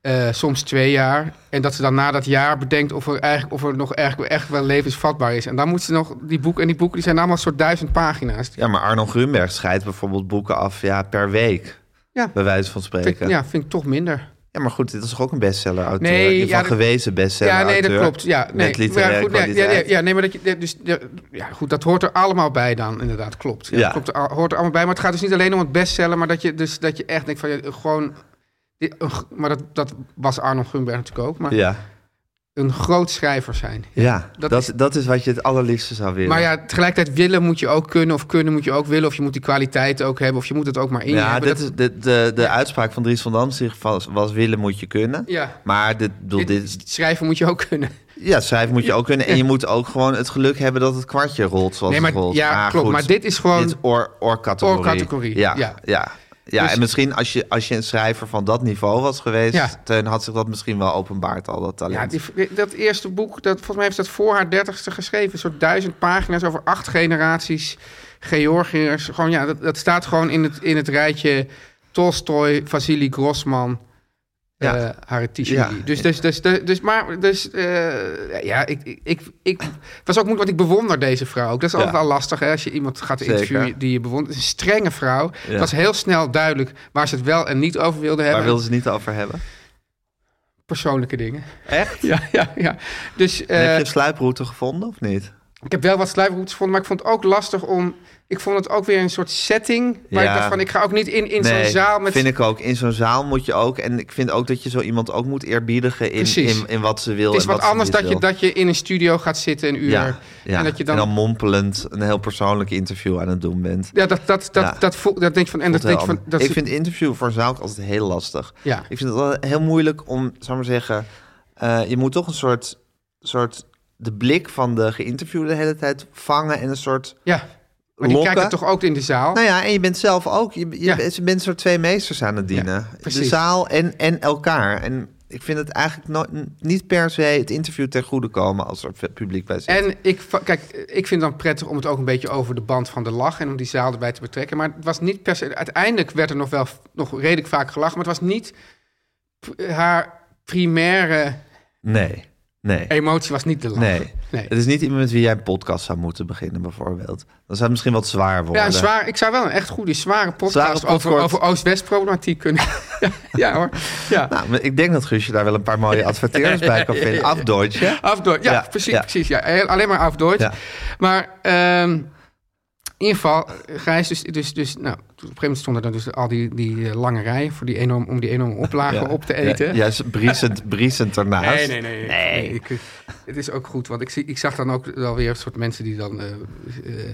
Speaker 3: eh, soms twee jaar. En dat ze dan na dat jaar bedenkt of er, eigenlijk, of er nog eigenlijk echt wel levensvatbaar is. En dan moet ze nog die boeken. En die boeken die zijn allemaal een soort duizend pagina's.
Speaker 2: Ja, maar Arno Grunberg scheidt bijvoorbeeld boeken af ja, per week.
Speaker 3: Ja.
Speaker 2: Bij wijze van
Speaker 3: Vind
Speaker 2: spreken.
Speaker 3: ik- ja, vind ik toch minder.
Speaker 2: Ja, maar goed, dit is toch ook een bestseller-auteur?
Speaker 3: Nee,
Speaker 2: In ieder
Speaker 3: ja,
Speaker 2: geval
Speaker 3: dat-
Speaker 2: gewezen
Speaker 3: Ja,
Speaker 2: bestseller-auteur.
Speaker 3: nee, dat klopt. Ja, nee.
Speaker 2: Met
Speaker 3: Maar
Speaker 2: literaire
Speaker 3: goed, nee, ja,
Speaker 2: kwaliteit.
Speaker 3: nee, ja, nee, maar dat je, dus, ja, ja, goed, dat hoort er allemaal bij dan, inderdaad, klopt. Ja,
Speaker 2: Ja.
Speaker 3: dat klopt er, al- hoort er allemaal bij, maar het gaat dus niet alleen om het bestseller, maar dat je, dus, dat je echt denkt van, ja, gewoon... dit- een g- Maar dat, dat was Arnold Gunberg natuurlijk ook, maar
Speaker 2: Ja,
Speaker 3: een groot schrijver zijn.
Speaker 2: ja.
Speaker 3: Dat
Speaker 2: Dat, dat, is, wat je het allerliefste zou willen.
Speaker 3: Maar ja, tegelijkertijd willen moet je ook kunnen, of kunnen moet je ook willen, of je moet die kwaliteit ook hebben, of je moet het ook maar in je
Speaker 2: ja,
Speaker 3: hebben.
Speaker 2: dit
Speaker 3: Dat-
Speaker 2: is, dit, de, de uitspraak van Dries van Damstig was, was willen moet je kunnen.
Speaker 3: Ja.
Speaker 2: Maar dit, bedoel, dit,
Speaker 3: dit- Schrijven moet je ook kunnen.
Speaker 2: ja, schrijven moet je ook kunnen. En je moet ook gewoon het geluk hebben dat het kwartje rolt zoals
Speaker 3: Nee, maar-
Speaker 2: het rolt.
Speaker 3: ja, klopt. Maar dit is gewoon-
Speaker 2: Dit or, or categorie.
Speaker 3: Or-categorie,
Speaker 2: Ja,
Speaker 3: ja.
Speaker 2: ja. ja.
Speaker 3: Dus-
Speaker 2: en misschien als je, als je een schrijver van dat niveau was geweest...
Speaker 3: Ja.
Speaker 2: Teun had zich dat misschien wel openbaard, al dat talent.
Speaker 3: Ja, die- dat eerste boek, dat, volgens mij heeft ze dat voor haar dertigste geschreven. Een soort duizend pagina's over acht generaties Georgiërs. Gewoon, ja, dat, dat staat gewoon in het, in het rijtje Tolstoy, Vasily Grossman,
Speaker 2: Ja.
Speaker 3: eh Haratishvili.
Speaker 2: Ja.
Speaker 3: Dus, dus, dus, dus, dus- maar, dus, eh, ja, ik, ik, ik, ik was ook moeilijk, want ik bewonder deze vrouw ook. Dat is altijd
Speaker 2: Ja.
Speaker 3: wel lastig, hè, als je iemand gaat
Speaker 2: Zeker.
Speaker 3: interviewen die je bewondert. Het is een strenge vrouw.
Speaker 2: Ja.
Speaker 3: Het was heel snel duidelijk waar ze het wel en niet over wilde hebben.
Speaker 2: Waar wilden ze het niet over hebben?
Speaker 3: Persoonlijke dingen.
Speaker 2: Echt?
Speaker 3: [laughs] Ja, ja, ja. Dus,
Speaker 2: En
Speaker 3: eh,
Speaker 2: heb je een sluiproute gevonden of niet?
Speaker 3: Ik heb wel wat sluiproutes gevonden, maar ik vond het ook lastig om... Ik vond het ook weer een soort setting waar
Speaker 2: Ja.
Speaker 3: ik dacht van... Ik ga ook niet in, in
Speaker 2: Nee,
Speaker 3: zo'n zaal met...
Speaker 2: vind ik ook. In zo'n zaal moet je ook... En ik vind ook dat je zo iemand ook moet eerbiedigen in,
Speaker 3: Precies.
Speaker 2: in, in wat ze wil.
Speaker 3: het is
Speaker 2: en
Speaker 3: wat
Speaker 2: ze
Speaker 3: anders
Speaker 2: niet
Speaker 3: dat je,
Speaker 2: wil.
Speaker 3: dat je in een studio gaat zitten een uur.
Speaker 2: Ja, ja.
Speaker 3: En dat je dan...
Speaker 2: mompelend een heel persoonlijk interview aan het doen bent.
Speaker 3: ja, dat, dat, dat,
Speaker 2: Ja.
Speaker 3: dat, voel, dat denk je van... En dat
Speaker 2: Voelt heel
Speaker 3: denk je van
Speaker 2: anders.
Speaker 3: dat
Speaker 2: ik vind interview voor zaal altijd heel lastig.
Speaker 3: Ja.
Speaker 2: Ik vind het wel heel moeilijk om, zou maar zeggen, eh, je moet toch een soort, soort de blik van de geïnterviewde de hele tijd vangen en een soort
Speaker 3: ja, maar die
Speaker 2: lokken.
Speaker 3: kijken toch ook in de zaal?
Speaker 2: Nou ja, en je bent zelf ook, je, je
Speaker 3: Ja.
Speaker 2: bent- je bent een soort twee meesters aan het dienen.
Speaker 3: precies.
Speaker 2: de zaal en, en elkaar. En ik vind het eigenlijk nooit- niet per se het interview ten goede komen als er publiek bij zit.
Speaker 3: En ik, va- kijk, ik vind het dan prettig om het ook een beetje over de band van de lach en om die zaal erbij te betrekken. Maar het was niet per se. Uiteindelijk werd er nog wel nog redelijk vaak gelachen, maar het was niet p- haar primaire
Speaker 2: Nee, nee.
Speaker 3: emotie was niet de lach.
Speaker 2: Nee.
Speaker 3: Nee.
Speaker 2: Het is niet iemand met wie jij een podcast zou moeten beginnen, bijvoorbeeld. Dan zou het misschien wat zwaar worden.
Speaker 3: Ja, een zwaar, ik zou wel een echt goede, zware podcast
Speaker 2: eh, Zware podcast.
Speaker 3: over, over Oost-West-problematiek kunnen. [laughs] ja, ja hoor. Ja.
Speaker 2: Nou, maar ik denk dat Guusje daar wel een paar mooie adverteerders bij kan
Speaker 3: [laughs]
Speaker 2: vinden. Afdeutje.
Speaker 3: Afdoort. Ja,
Speaker 2: Ja,
Speaker 3: precies.
Speaker 2: ja.
Speaker 3: precies ja. Heel- Alleen maar afdoort.
Speaker 2: Ja.
Speaker 3: Maar ehm, in ieder geval, Gijs, dus, dus, dus nou, op een gegeven moment stonden er dus al die, die eh, lange rijen voor die enorm, om die enorme oplagen op te eten.
Speaker 2: Ja, juist briesend, briesend ernaast.
Speaker 3: Nee, nee, nee. nee. ik, eh, het is ook goed, want ik, zie, ik zag dan ook wel weer een soort mensen die dan... eh, eh,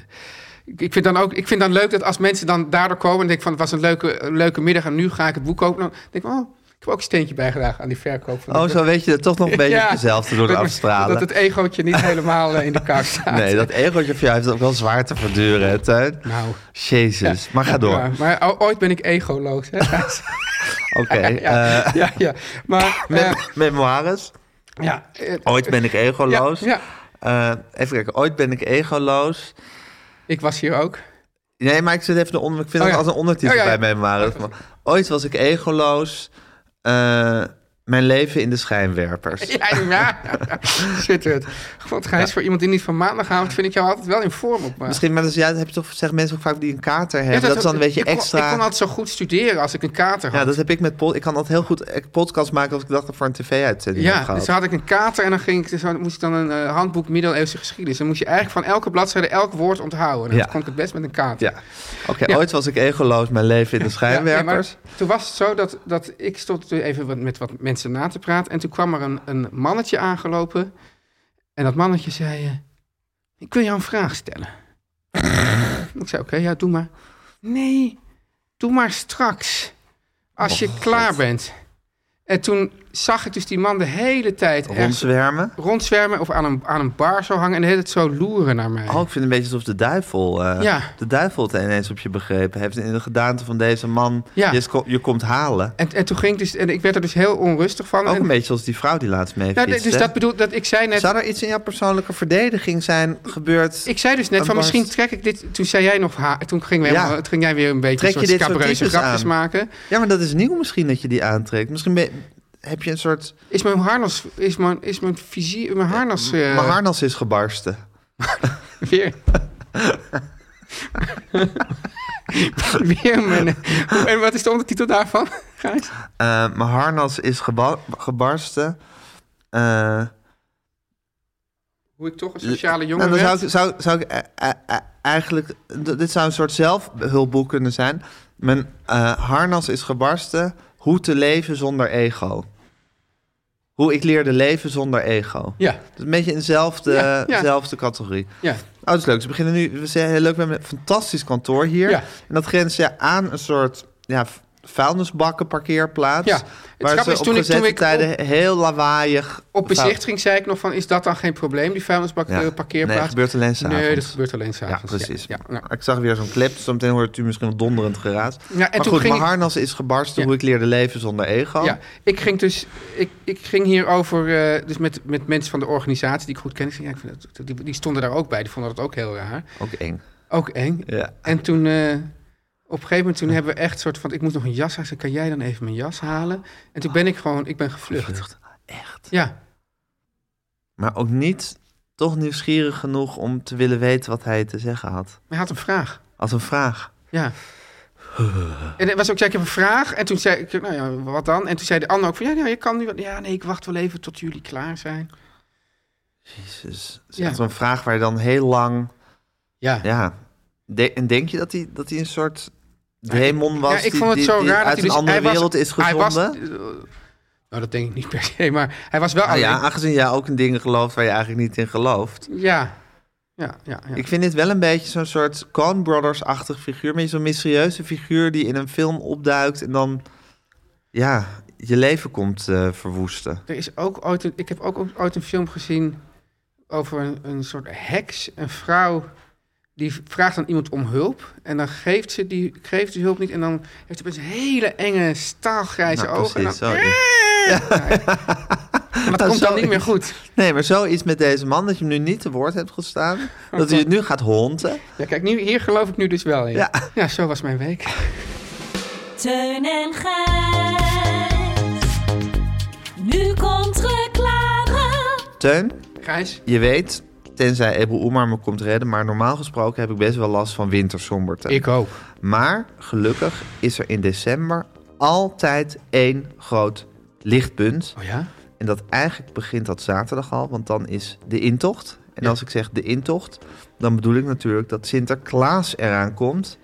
Speaker 3: ik ik vind dan ook ik vind dan leuk dat als mensen dan daardoor komen en denken van het was een leuke, een leuke middag en nu ga ik het boek kopen. Dan denk ik, oh, ik heb ook een steentje bijgedragen aan die verkoop. Van
Speaker 2: Oh,
Speaker 3: dat-
Speaker 2: zo weet je dat toch
Speaker 3: [laughs]
Speaker 2: nog een beetje
Speaker 3: Ja.
Speaker 2: op jezelf te doen
Speaker 3: dat-
Speaker 2: afstralen.
Speaker 3: Dat het egootje niet helemaal eh, in
Speaker 2: [laughs]
Speaker 3: de kaart staat.
Speaker 2: Nee, dat egootje van jou heeft het ook wel zwaar te verduren, hè, Tuin?
Speaker 3: Nou.
Speaker 2: Jezus, maar ga door.
Speaker 3: Ja, maar o- ooit ben ik
Speaker 2: [laughs]
Speaker 3: egoloos. Hè? Gijs?
Speaker 2: Oké.
Speaker 3: ja,
Speaker 2: eh,
Speaker 3: ja, ja. Maar
Speaker 2: [laughs]
Speaker 3: eh,
Speaker 2: me- memoires.
Speaker 3: ja, eh,
Speaker 2: Ooit ben ik egoloos.
Speaker 3: Ja, ja.
Speaker 2: Eh, even kijken. Ooit ben ik egoloos.
Speaker 3: ik was hier ook. [laughs]
Speaker 2: Nee, maar ik zit even de onder. Ik vind
Speaker 3: Oh
Speaker 2: dat
Speaker 3: ja.
Speaker 2: als een ondertitel
Speaker 3: Oh ja, ja.
Speaker 2: bij mij waren. Ooit was ik egoloos. Eh, mijn leven in de schijnwerpers.
Speaker 3: Ja, ja,
Speaker 2: [laughs]
Speaker 3: ja. Zit het. God, Gijs, voor iemand die niet van maandagavond vind ik jou altijd wel in vorm op. Maar...
Speaker 2: Misschien, maar dat is, ja, dat heb je toch, zeggen mensen ook vaak die een kater hebben.
Speaker 3: Ja,
Speaker 2: dat, is dan een beetje
Speaker 3: ik kon-
Speaker 2: extra.
Speaker 3: ik kon altijd zo goed studeren als ik een kater had.
Speaker 2: ja, dat heb ik met pod, Ik kan altijd heel goed eh, podcast maken als ik dacht dat voor een tv-uitzending heb
Speaker 3: Ja,
Speaker 2: gehad.
Speaker 3: dus had ik een kater en dan, ging ik, dus dan moest ik dan een eh, handboek middeleeuwse geschiedenis. Dan moest je eigenlijk van elke bladzijde elk woord onthouden. En
Speaker 2: Ja.
Speaker 3: dan kon ik het best met een kater.
Speaker 2: Ja. Oké,
Speaker 3: Ja.
Speaker 2: ooit was ik egoloos, mijn leven in de
Speaker 3: [laughs] Ja, nee,
Speaker 2: schijnwerpers.
Speaker 3: maar toen was het zo dat, dat ik stond toen even wat, met wat mensen mensen na te praten. En toen kwam er een, een mannetje aangelopen. En dat mannetje zei... eh, ik wil jou een vraag stellen. [laughs] ik zei, oké, ja, doe maar. Nee, doe maar straks. Als
Speaker 2: Oh,
Speaker 3: je klaar bent. En toen zag ik dus die man de hele tijd ergens
Speaker 2: Rondzwermen.
Speaker 3: rondzwermen of aan een, aan een bar zo hangen en de hele tijd zo loeren naar
Speaker 2: Oh,
Speaker 3: mij.
Speaker 2: ik vind het een beetje alsof de duivel, eh,
Speaker 3: Ja.
Speaker 2: de duivel het ineens op je begrepen heeft. In de gedaante van deze man,
Speaker 3: Ja.
Speaker 2: je, is ko- je komt halen.
Speaker 3: En, en toen ging ik dus, en ik werd er dus heel onrustig van.
Speaker 2: Ook
Speaker 3: en,
Speaker 2: een beetje als die vrouw die laatst mee
Speaker 3: Nou,
Speaker 2: fietste,
Speaker 3: dus
Speaker 2: hè?
Speaker 3: dat bedoel dat ik zei net.
Speaker 2: Zou er iets in jouw persoonlijke verdediging zijn gebeurd?
Speaker 3: Ik zei dus net
Speaker 2: Een
Speaker 3: van
Speaker 2: barst.
Speaker 3: misschien trek ik dit. Toen zei jij nog ha, toen ging, we
Speaker 2: Ja.
Speaker 3: helemaal- toen ging jij weer een beetje
Speaker 2: Trek je
Speaker 3: soort
Speaker 2: dit soort
Speaker 3: scabreuze
Speaker 2: types
Speaker 3: grapjes
Speaker 2: aan?
Speaker 3: maken.
Speaker 2: Ja, maar dat is nieuw misschien dat je die aantrekt. Misschien ben je- heb je een soort...
Speaker 3: Is mijn harnas, is mijn, is mijn visie, mijn harnas eh,
Speaker 2: Mijn harnas is gebarsten.
Speaker 3: [laughs] weer. [laughs] weer mijn. En wat is de ondertitel daarvan? [laughs] Gijs?
Speaker 2: Eh, mijn harnas is geba- gebarsten. Eh,
Speaker 3: Hoe ik toch een sociale jongen
Speaker 2: nou, dan zou ik,
Speaker 3: werd.
Speaker 2: zou, zou ik eh, eh, eh, eigenlijk... d- dit zou een soort zelfhulpboek kunnen zijn. Mijn eh, harnas is gebarsten. Hoe te leven zonder ego. Hoe ik leerde leven zonder ego.
Speaker 3: Ja,
Speaker 2: Dat is een beetje in dezelfde
Speaker 3: Ja, ja.
Speaker 2: dezelfde categorie.
Speaker 3: ja.
Speaker 2: Oh, dat is leuk. Ze beginnen nu. We zijn heel leuk. We hebben een fantastisch kantoor hier.
Speaker 3: Ja.
Speaker 2: En dat grenst ja, aan een soort ja, v- vuilnisbakken parkeerplaats.
Speaker 3: Ja. Het
Speaker 2: Waar
Speaker 3: grappige
Speaker 2: ze op
Speaker 3: is, toen ik-
Speaker 2: gezette
Speaker 3: toen ik
Speaker 2: tijden heel lawaaiig.
Speaker 3: Op
Speaker 2: vuil-
Speaker 3: bezichtiging zei ik nog van, is dat dan geen probleem, die vuilnisbak
Speaker 2: Ja.
Speaker 3: eh, parkeerplaats?
Speaker 2: Nee, gebeurt alleen s'avonds.
Speaker 3: Nee, dat gebeurt alleen
Speaker 2: Ja,
Speaker 3: s'avonds.
Speaker 2: precies.
Speaker 3: Ja, ja, nou.
Speaker 2: Ik zag weer zo'n clip. Zometeen hoort u misschien een donderend geraas.
Speaker 3: en
Speaker 2: maar
Speaker 3: toen
Speaker 2: goed,
Speaker 3: ging
Speaker 2: mijn
Speaker 3: ik-
Speaker 2: harnas is gebarsten.
Speaker 3: Ja.
Speaker 2: Hoe ik leerde leven zonder ego.
Speaker 3: Ja, ik ging dus, ik, ik ging hierover, eh, dus met, met mensen van de organisatie die ik goed ken. Ik zei, ja, ik vind dat, die, die stonden daar ook bij, die vonden dat ook heel raar.
Speaker 2: Ook eng.
Speaker 3: Ook eng.
Speaker 2: Ja.
Speaker 3: En toen, eh, op een gegeven moment, toen hebben we echt een soort van, ik moet nog een jas halen. Ik zei, Kan jij dan even mijn jas halen? En toen ben ik gewoon, ik ben gevlucht.
Speaker 2: Echt.
Speaker 3: Ja,
Speaker 2: Maar ook niet toch nieuwsgierig genoeg om te willen weten wat hij te zeggen had.
Speaker 3: maar hij had een vraag.
Speaker 2: Als een vraag.
Speaker 3: Ja. En het was ook, zei ik heb een vraag. En toen zei ik, nou ja, wat dan? En toen zei de ander ook van, ja, ja, je kan nu... wat- Ja, nee, ik wacht wel even tot jullie klaar zijn.
Speaker 2: Jezus. Dat is
Speaker 3: Ja.
Speaker 2: Dus echt zo'n vraag waar je dan heel lang...
Speaker 3: Ja.
Speaker 2: Ja. De- en denk je dat hij, dat hij een soort demon was?
Speaker 3: Ja, ik
Speaker 2: die-
Speaker 3: vond het
Speaker 2: die-
Speaker 3: zo
Speaker 2: die
Speaker 3: raar dat
Speaker 2: uit
Speaker 3: hij
Speaker 2: een
Speaker 3: dus-
Speaker 2: andere
Speaker 3: hij was-
Speaker 2: wereld is
Speaker 3: hij was-
Speaker 2: gezonden?
Speaker 3: eh, nou, dat denk ik niet per se, maar hij was wel...
Speaker 2: nou ja,
Speaker 3: alleen-
Speaker 2: aangezien jij ook in dingen gelooft waar je eigenlijk niet in gelooft.
Speaker 3: ja, ja, ja. ja.
Speaker 2: Ik vind dit wel een beetje zo'n soort Coen Brothers-achtig figuur. Een beetje zo'n mysterieuze figuur die in een film opduikt en dan... Ja, je leven komt eh, verwoesten.
Speaker 3: Er is ook ooit een, ik heb ook ooit een film gezien over een, een soort heks. Een vrouw die vraagt aan iemand om hulp. En dan geeft ze die, geeft die hulp niet. En dan heeft ze opeens hele enge staalgrijze
Speaker 2: Nou,
Speaker 3: ogen.
Speaker 2: precies,
Speaker 3: en dan,
Speaker 2: zo is- [laughs]
Speaker 3: Maar dat
Speaker 2: Nou,
Speaker 3: komt
Speaker 2: zo
Speaker 3: dan niet meer
Speaker 2: is-
Speaker 3: goed.
Speaker 2: Nee, maar zoiets met deze man dat je hem nu niet te woord hebt gestaan. Dat hij het nu gaat honten.
Speaker 3: Ja, kijk, nu, hier geloof ik nu dus wel in.
Speaker 2: Ja.
Speaker 3: ja, zo was mijn week.
Speaker 6: Teun en Gijs. Nu komt reclame.
Speaker 2: Teun,
Speaker 3: Gijs?
Speaker 2: je weet, tenzij Ebru Oemar me komt redden... maar normaal gesproken heb ik best wel last van wintersomberte.
Speaker 3: Ik ook.
Speaker 2: Maar gelukkig is er in december altijd één groot lichtpunt.
Speaker 3: Oh ja?
Speaker 2: En dat eigenlijk begint dat zaterdag al, want dan is de intocht. En als ik zeg de intocht, dan bedoel ik natuurlijk dat Sinterklaas eraan komt.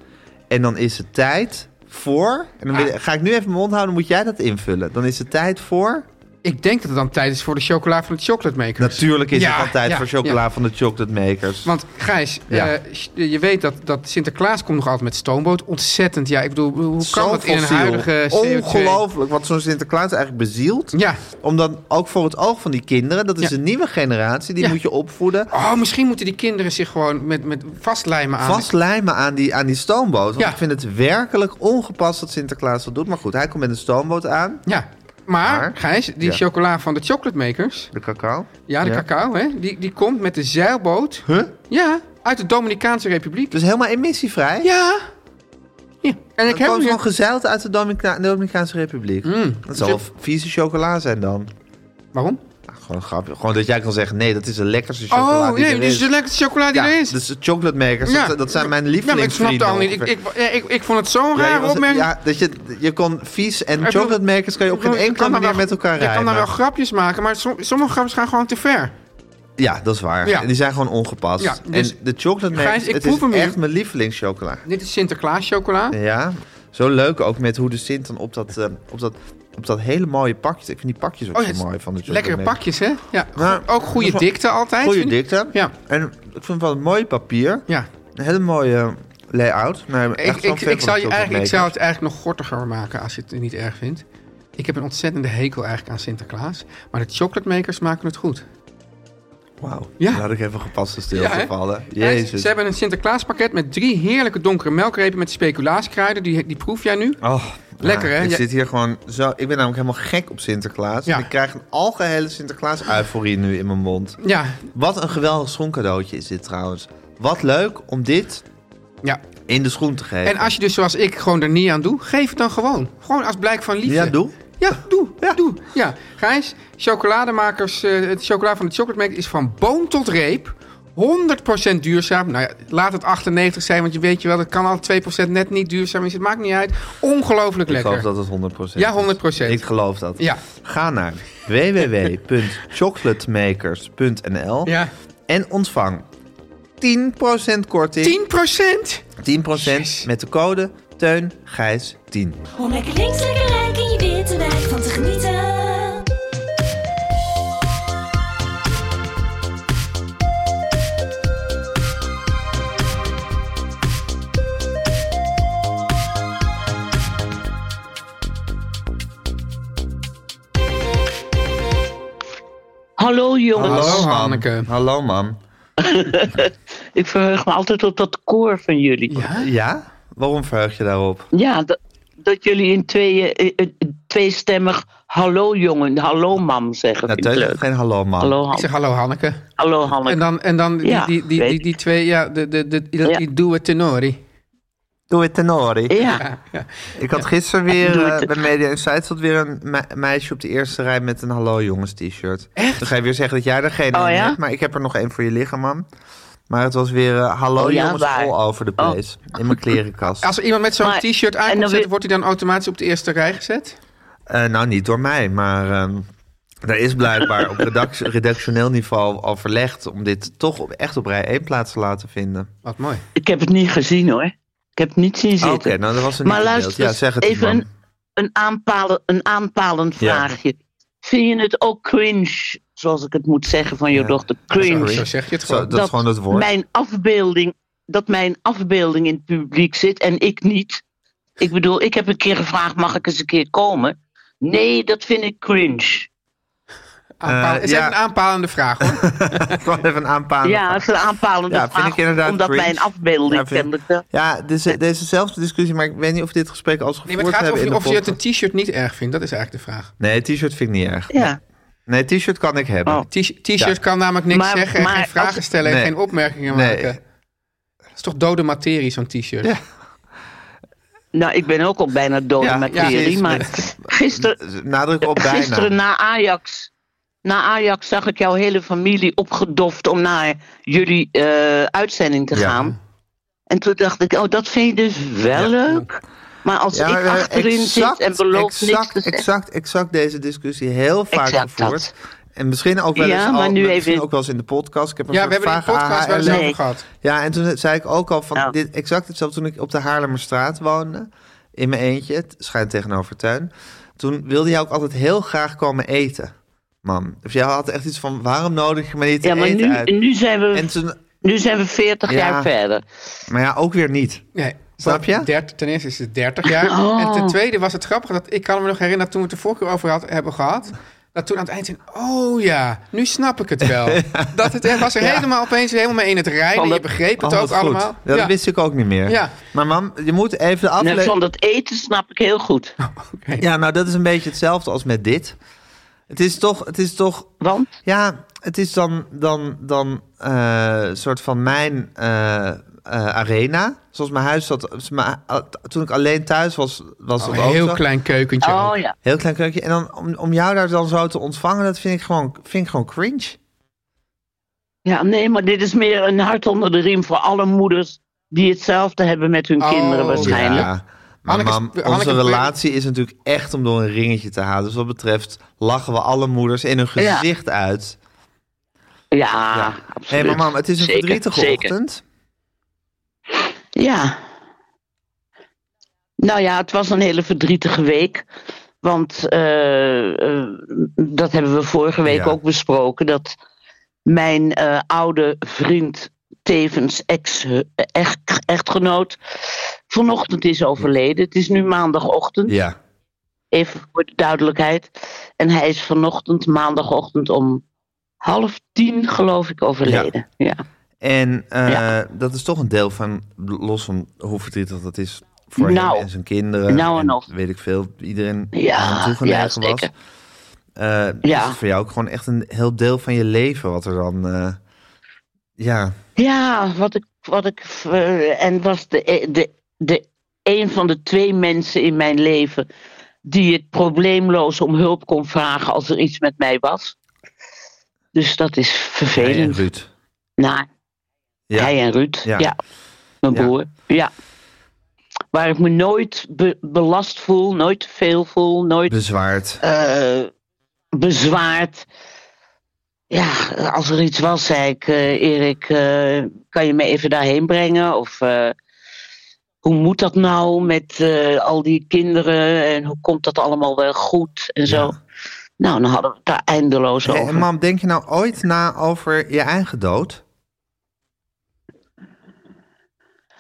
Speaker 2: En dan is het tijd voor... En
Speaker 3: Ah.
Speaker 2: dan wil- ga ik nu even mijn mond houden, moet jij dat invullen. Dan is het tijd voor...
Speaker 3: Ik denk dat het dan tijd is voor de chocola van de chocolate maker.
Speaker 2: Natuurlijk is
Speaker 3: Ja,
Speaker 2: het altijd
Speaker 3: ja,
Speaker 2: voor chocola van de chocolate makers.
Speaker 3: Want Gijs,
Speaker 2: Ja.
Speaker 3: eh, sh- je weet dat, dat Sinterklaas komt nog altijd met stoomboot. Ontzettend, ja. Ik bedoel, hoe kan
Speaker 2: Zo
Speaker 3: dat in een
Speaker 2: fossiel.
Speaker 3: huidige CO2?
Speaker 2: Ongelooflijk wat zo'n Sinterklaas eigenlijk bezielt.
Speaker 3: Ja.
Speaker 2: Omdat ook voor het oog van die kinderen, dat is
Speaker 3: Ja.
Speaker 2: een nieuwe generatie, die
Speaker 3: Ja.
Speaker 2: moet je opvoeden.
Speaker 3: Oh, misschien moeten die kinderen zich gewoon met, met vastlijmen aan.
Speaker 2: Vastlijmen aan die, aan die stoomboot. Want
Speaker 3: Ja.
Speaker 2: ik vind het werkelijk ongepast dat Sinterklaas dat doet. Maar goed, hij komt met een stoomboot aan.
Speaker 3: Ja. Maar,
Speaker 2: Maar-
Speaker 3: Gijs, die
Speaker 2: Ja.
Speaker 3: chocola van de chocolate makers,
Speaker 2: De cacao.
Speaker 3: ja, de cacao, hè, die, die komt met de zeilboot.
Speaker 2: Huh?
Speaker 3: Ja, uit de Dominicaanse Republiek.
Speaker 2: Dus helemaal emissievrij.
Speaker 3: Ja. Ja. En ik
Speaker 2: Dat
Speaker 3: heb hem Mm.
Speaker 2: kwam
Speaker 3: hier.
Speaker 2: gewoon gezeild uit de Dominica- Dominicaanse Republiek. Dat zal wel
Speaker 3: Dus
Speaker 2: vieze chocola zijn dan.
Speaker 3: Waarom?
Speaker 2: Nou, gewoon grappig. Gewoon dat jij kan zeggen, nee, dat is de lekkerste chocola
Speaker 3: Oh,
Speaker 2: die
Speaker 3: nee,
Speaker 2: er
Speaker 3: dit is
Speaker 2: is.
Speaker 3: de lekkerste chocola die
Speaker 2: ja,
Speaker 3: er is.
Speaker 2: Dus de chocolate makers,
Speaker 3: Ja.
Speaker 2: dat, dat zijn mijn
Speaker 3: Ja, maar ik
Speaker 2: lievelingsvrienden.
Speaker 3: snap het al niet. Ik,
Speaker 2: ongeveer.
Speaker 3: ik, ja, ik, ik vond het zo'n
Speaker 2: Ja, je
Speaker 3: rare
Speaker 2: was-
Speaker 3: opmerking.
Speaker 2: ja, dat je, je kon vies en
Speaker 3: bedoel,
Speaker 2: chocolate makers kan je op geen
Speaker 3: Je
Speaker 2: enkele
Speaker 3: kan daar
Speaker 2: manier
Speaker 3: wel-
Speaker 2: met elkaar
Speaker 3: Je kan
Speaker 2: rijmen.
Speaker 3: daar wel grapjes maken, maar som- sommige grapjes gaan gewoon te ver.
Speaker 2: Ja, dat is waar.
Speaker 3: Ja.
Speaker 2: En die zijn gewoon ongepast.
Speaker 3: Ja, dus-
Speaker 2: en de chocolate makers,
Speaker 3: Gijs, ik
Speaker 2: het
Speaker 3: proef
Speaker 2: is
Speaker 3: hem nu.
Speaker 2: echt mijn lievelingschocola.
Speaker 3: Dit is Sinterklaas chocola.
Speaker 2: Ja, zo leuk ook met hoe de Sint dan op dat... eh, op dat op dat hele mooie pakje. Ik vind die pakjes ook
Speaker 3: Oh ja,
Speaker 2: zo
Speaker 3: het is
Speaker 2: mooi van de Jordan
Speaker 3: Lekkere
Speaker 2: Mix.
Speaker 3: pakjes, hè? Ja,
Speaker 2: Maar-
Speaker 3: ook goede
Speaker 2: dat is wel-
Speaker 3: dikte altijd.
Speaker 2: Goede
Speaker 3: vind ik.
Speaker 2: dikte.
Speaker 3: Ja.
Speaker 2: En ik vind wel een mooi papier.
Speaker 3: Ja.
Speaker 2: Een hele mooie eh, layout. Nee,
Speaker 3: Ik,
Speaker 2: echt wel
Speaker 3: ik,
Speaker 2: fan
Speaker 3: ik,
Speaker 2: van
Speaker 3: zou
Speaker 2: de
Speaker 3: je eigenlijk, ik zou
Speaker 2: Jordan
Speaker 3: het eigenlijk nog gortiger maken als je het niet erg vindt. Ik heb een ontzettende hekel eigenlijk aan Sinterklaas. Maar de chocolatemakers maken het goed.
Speaker 2: Mix. Wauw.
Speaker 3: Ja.
Speaker 2: Ja. Laat ik even gepaste stilte
Speaker 3: Ja, hè?
Speaker 2: vallen.
Speaker 3: En
Speaker 2: Jezus.
Speaker 3: Ze hebben een Sinterklaaspakket met drie heerlijke donkere melkrepen met speculaaskruiden. Die, die proef jij nu.
Speaker 2: Oh,
Speaker 3: Lekker,
Speaker 2: nou,
Speaker 3: hè?
Speaker 2: Ik
Speaker 3: Ja.
Speaker 2: zit hier gewoon zo... Ik ben namelijk helemaal gek op Sinterklaas.
Speaker 3: Ja.
Speaker 2: En ik krijg een algehele Sinterklaas-euforie nu in mijn mond.
Speaker 3: Ja,
Speaker 2: Wat een geweldig schoencadeautje is dit trouwens. Wat leuk om dit
Speaker 3: ja.
Speaker 2: in de schoen te geven.
Speaker 3: En als je dus zoals ik gewoon er niet aan doe, geef het dan gewoon. Gewoon als blijk van liefde.
Speaker 2: Ja, doe.
Speaker 3: Ja, doe. doe. Ja. Gijs, chocolademakers, eh, het chocola van de chocolatemerk is van boom tot reep. 100% duurzaam. Nou ja, laat het 98 zijn, want je weet je wel, dat kan al 2% net niet duurzaam is. Het maakt niet uit. Ongelooflijk
Speaker 2: Ik
Speaker 3: lekker.
Speaker 2: geloof dat het 100%
Speaker 3: Ja,
Speaker 2: is.
Speaker 3: 100%.
Speaker 2: Ik geloof dat.
Speaker 3: Ja.
Speaker 2: Ga
Speaker 3: [laughs]
Speaker 2: naar www.chocolatemakers.nl
Speaker 3: Ja.
Speaker 2: en ontvang 10% korting.
Speaker 3: 10%?
Speaker 2: 10%, met de code TEUNGIJS10.
Speaker 6: Om lekker links, lekker rijk in je witte wijk van te genieten.
Speaker 7: Hallo jongens.
Speaker 3: Hallo,
Speaker 2: mam.
Speaker 3: Hanneke.
Speaker 2: Hallo, mam.
Speaker 7: Ik verheug me altijd op dat koor van jullie. Ja,
Speaker 3: Ja?
Speaker 2: Ja? Waarom verheug je daarop?
Speaker 7: dat, dat jullie in twee, eh, eh, tweestemmig hallo jongen, hallo mam zeggen.
Speaker 2: Nou,
Speaker 7: vind ik
Speaker 2: Teun
Speaker 7: leuk.
Speaker 2: zegt geen hallo, mam.
Speaker 7: Hallo,
Speaker 3: Ik
Speaker 7: Han-
Speaker 3: zeg hallo Hanneke.
Speaker 7: hallo Hanne.
Speaker 3: En dan, en dan die,
Speaker 7: Ja,
Speaker 3: die, die,
Speaker 7: weet
Speaker 3: die,
Speaker 7: ik.
Speaker 3: die twee, ja, de, de, de, die,
Speaker 7: Ja.
Speaker 3: die doe het tenori.
Speaker 2: Doe het tenori.
Speaker 7: ja,
Speaker 2: Ik had gisteren weer
Speaker 7: Doe
Speaker 2: eh,
Speaker 7: het.
Speaker 2: bij Media Insights zat weer een me- meisje op de eerste rij met een hallo jongens t-shirt. Echt? Dan ga je weer zeggen dat jij er geen
Speaker 7: Oh,
Speaker 2: een
Speaker 7: ja?
Speaker 2: hebt, maar ik heb er nog één voor je liggen, man. Maar het was weer eh, hallo
Speaker 7: Oh, ja,
Speaker 2: jongens
Speaker 7: waar?
Speaker 2: all over the place in mijn
Speaker 7: [laughs]
Speaker 2: klerenkast.
Speaker 3: Als er iemand met zo'n
Speaker 7: Maar-
Speaker 3: t-shirt
Speaker 7: en
Speaker 3: aankomt
Speaker 7: dan
Speaker 3: zetten,
Speaker 7: weer-
Speaker 3: wordt hij dan automatisch op de eerste rij gezet?
Speaker 2: Eh, nou, niet door mij, maar ehm er is blijkbaar op
Speaker 7: [laughs]
Speaker 2: redact- redactioneel niveau al verlegd om dit toch op, echt op rij 1 plaats te laten vinden.
Speaker 3: Wat mooi.
Speaker 7: ik heb het niet gezien hoor. Ik heb het niet zien
Speaker 2: Oké,
Speaker 7: zitten.
Speaker 2: nou dat was een
Speaker 7: maar luister,
Speaker 2: Ja, zeg het
Speaker 7: even
Speaker 2: man.
Speaker 7: een, een, aanpalen, een aanpalend
Speaker 2: Ja.
Speaker 7: vraagje. Vind je het ook cringe, zoals ik het moet zeggen van je
Speaker 2: Ja.
Speaker 7: dochter,
Speaker 3: Zo,
Speaker 7: cringe?
Speaker 2: Sorry.
Speaker 3: zo zeg je het
Speaker 2: Zo,
Speaker 3: gewoon.
Speaker 2: dat, is gewoon het woord.
Speaker 7: Mijn afbeelding, dat mijn afbeelding in het publiek zit en ik niet. Ik bedoel, ik heb een keer gevraagd, mag ik eens een keer komen? Nee, dat vind ik cringe.
Speaker 3: Aanpalen-
Speaker 2: Eh,
Speaker 3: is even
Speaker 2: ja.
Speaker 3: een aanpalende
Speaker 2: [laughs]
Speaker 3: vraag hoor.
Speaker 2: [laughs] Gewoon even aanpalen.
Speaker 7: ja, dat is een aanpalende
Speaker 2: Ah, Ja, vind
Speaker 7: vraag,
Speaker 2: ik inderdaad
Speaker 7: omdat
Speaker 2: cringe.
Speaker 7: mijn afbeelding
Speaker 2: Ja, vind ik-
Speaker 7: kennelijk wel-
Speaker 2: Ja, dus, deze, dezezelfde discussie, maar ik weet niet of we dit gesprek als
Speaker 3: Nee,
Speaker 2: gevoerd
Speaker 3: maar het gaat
Speaker 2: hebben
Speaker 3: of je,
Speaker 2: in
Speaker 3: of
Speaker 2: de
Speaker 3: je het een
Speaker 2: podcast.
Speaker 3: t-shirt niet erg vindt, dat is eigenlijk de vraag.
Speaker 2: Nee, t-shirt vind ik niet erg.
Speaker 7: Ja,
Speaker 2: Nee, t-shirt kan ik hebben.
Speaker 7: Oh.
Speaker 3: T- T-shirt kan namelijk niks
Speaker 7: Maar-
Speaker 3: zeggen en
Speaker 7: maar
Speaker 3: geen vragen
Speaker 7: als-
Speaker 3: stellen en
Speaker 2: Nee.
Speaker 3: geen opmerkingen
Speaker 2: Nee. [laughs]
Speaker 3: maken. Dat is toch dode materie, zo'n t-shirt?
Speaker 2: Ja.
Speaker 7: nou, ik ben ook al bijna dood
Speaker 2: Ja,
Speaker 7: met materie,
Speaker 2: precies.
Speaker 7: maar
Speaker 2: [laughs]
Speaker 7: gisteren,
Speaker 2: Nadruk op bijna.
Speaker 7: Gisteren na Ajax. Na Ajax zag ik jouw hele familie opgedoft om naar jullie eh, uitzending te
Speaker 2: Ja.
Speaker 7: gaan. En toen dacht ik, oh, dat vind je dus wel leuk. Maar als
Speaker 2: Ja, maar
Speaker 7: ik
Speaker 2: we hebben
Speaker 7: achterin
Speaker 2: exact,
Speaker 7: zit en beloof niks
Speaker 2: exact,
Speaker 7: te zeggen.
Speaker 2: exact, exact deze discussie heel vaak
Speaker 7: Exact
Speaker 2: gevoerd.
Speaker 7: dat.
Speaker 2: En misschien ook wel eens,
Speaker 7: Ja,
Speaker 2: al,
Speaker 7: maar nu
Speaker 2: misschien
Speaker 7: even-
Speaker 2: ook wel eens in de podcast. Ik heb een
Speaker 3: Ja,
Speaker 2: soort
Speaker 3: we hebben die
Speaker 2: vage
Speaker 3: podcast wel eens
Speaker 2: AHL.
Speaker 7: Nee.
Speaker 3: over gehad.
Speaker 2: Ja, en toen zei ik ook al van
Speaker 7: Ja.
Speaker 2: dit, exact hetzelfde toen ik op de Haarlemmerstraat woonde. In mijn eentje, het schijnt tegenover tuin. Toen wilde jij ook altijd heel graag komen eten, mam. Of jij had echt iets van, waarom nodig je me niet te
Speaker 7: Ja, maar
Speaker 2: eten
Speaker 7: nu,
Speaker 2: uit?
Speaker 7: nu, zijn
Speaker 2: En
Speaker 7: we,
Speaker 2: toen,
Speaker 7: nu zijn we 40
Speaker 2: Ja.
Speaker 7: jaar verder.
Speaker 2: maar ja, ook weer niet.
Speaker 3: Nee.
Speaker 2: Snap je?
Speaker 3: Dert- ten eerste is het 30
Speaker 7: [laughs]
Speaker 3: jaar.
Speaker 7: Oh.
Speaker 3: En ten tweede was het grappig dat ik kan me nog herinneren dat toen we het de vorige keer over had, hebben gehad. Dat toen aan het eind zei, oh ja, nu snap ik
Speaker 2: [laughs]
Speaker 3: het wel. Dat het er was er helemaal opeens helemaal mee in het rijden. Je begreep het
Speaker 2: Oh,
Speaker 3: ook
Speaker 2: wat goed.
Speaker 3: allemaal.
Speaker 2: Ja, dat
Speaker 3: [laughs]
Speaker 2: wist ik ook niet meer.
Speaker 3: Ja.
Speaker 2: Maar mam, je moet even de
Speaker 7: Nee,
Speaker 2: aflevering...
Speaker 7: van dat eten snap ik heel goed.
Speaker 3: Oh,
Speaker 2: Ja, nou dat is een beetje hetzelfde als met dit. Het is toch, het is toch
Speaker 7: Want
Speaker 2: [laughs] ja, het is dan, dan, dan eh, soort van mijn eh, eh, arena. Zoals mijn huis zat, dus mijn- eh, toen ik alleen thuis was, was
Speaker 3: Oh,
Speaker 2: dat
Speaker 3: een
Speaker 2: ook
Speaker 3: heel
Speaker 2: zo.
Speaker 3: klein keukentje.
Speaker 7: Oh
Speaker 3: ook.
Speaker 7: ja.
Speaker 2: Heel klein keukje. En dan om, om jou daar dan zo te ontvangen, dat vind ik gewoon, vind ik gewoon cringe.
Speaker 7: ja, nee, maar dit is meer een hart onder de riem voor alle moeders die hetzelfde hebben met hun
Speaker 3: Oh,
Speaker 7: kinderen
Speaker 3: ja.
Speaker 7: waarschijnlijk.
Speaker 2: Ja. Maar
Speaker 3: Hanneke-
Speaker 2: mam,
Speaker 3: Hanneke-
Speaker 2: onze relatie is natuurlijk echt om door een ringetje te halen. Dus wat betreft lachen we alle moeders in hun
Speaker 7: Ja.
Speaker 2: gezicht uit.
Speaker 7: Ja,
Speaker 2: Ja.
Speaker 7: absoluut.
Speaker 2: Hé, maar mam, het is een
Speaker 7: Zeker,
Speaker 2: verdrietige
Speaker 7: zeker.
Speaker 2: ochtend.
Speaker 7: Ja. Nou ja, het was een hele verdrietige week. Want eh, eh, dat hebben we vorige
Speaker 2: Ja.
Speaker 7: week ook besproken. Dat mijn eh, oude vriend, tevens ex, eh, echt- echtgenoot, vanochtend is overleden. Het is nu maandagochtend.
Speaker 2: Ja.
Speaker 7: Even voor de duidelijkheid. En hij is vanochtend, maandagochtend om half tien, geloof ik, overleden. Ja.
Speaker 2: En eh,
Speaker 7: Ja.
Speaker 2: dat is toch een deel van, los van hoe verdrietig dat is voor
Speaker 7: Nou.
Speaker 2: hem en zijn kinderen.
Speaker 7: Nou en of.
Speaker 2: weet ik veel, iedereen
Speaker 7: Ja,
Speaker 2: die hem toegeneigd
Speaker 7: ja,
Speaker 2: was.
Speaker 7: zeker.
Speaker 2: Eh,
Speaker 7: Ja.
Speaker 2: Is het voor jou ook gewoon echt een heel deel van je leven wat er dan... eh, ja,
Speaker 7: Ja, wat ik. Wat ik eh, en was de, de, de, een van de twee mensen in mijn leven. die het probleemloos om hulp kon vragen als er iets met mij was. Dus dat is
Speaker 2: hij en
Speaker 7: vervelend.
Speaker 2: Ruud.
Speaker 7: Nou,
Speaker 2: Ja.
Speaker 7: Hij en Ruud,
Speaker 2: Ja.
Speaker 7: ja. Mijn
Speaker 2: Ja.
Speaker 7: broer, ja. Waar ik me nooit be- belast voel, nooit te veel voel, nooit
Speaker 2: Bezwaard.
Speaker 7: eh, bezwaard. Ja, als er iets was, zei ik, eh, Erik, eh, kan je me even daarheen brengen? Of eh, hoe moet dat nou met eh, al die kinderen en hoe komt dat allemaal wel goed en zo?
Speaker 2: Ja.
Speaker 7: Nou, dan hadden we het daar eindeloos
Speaker 2: Hey,
Speaker 7: over.
Speaker 2: en mam, denk je nou ooit na over je eigen dood?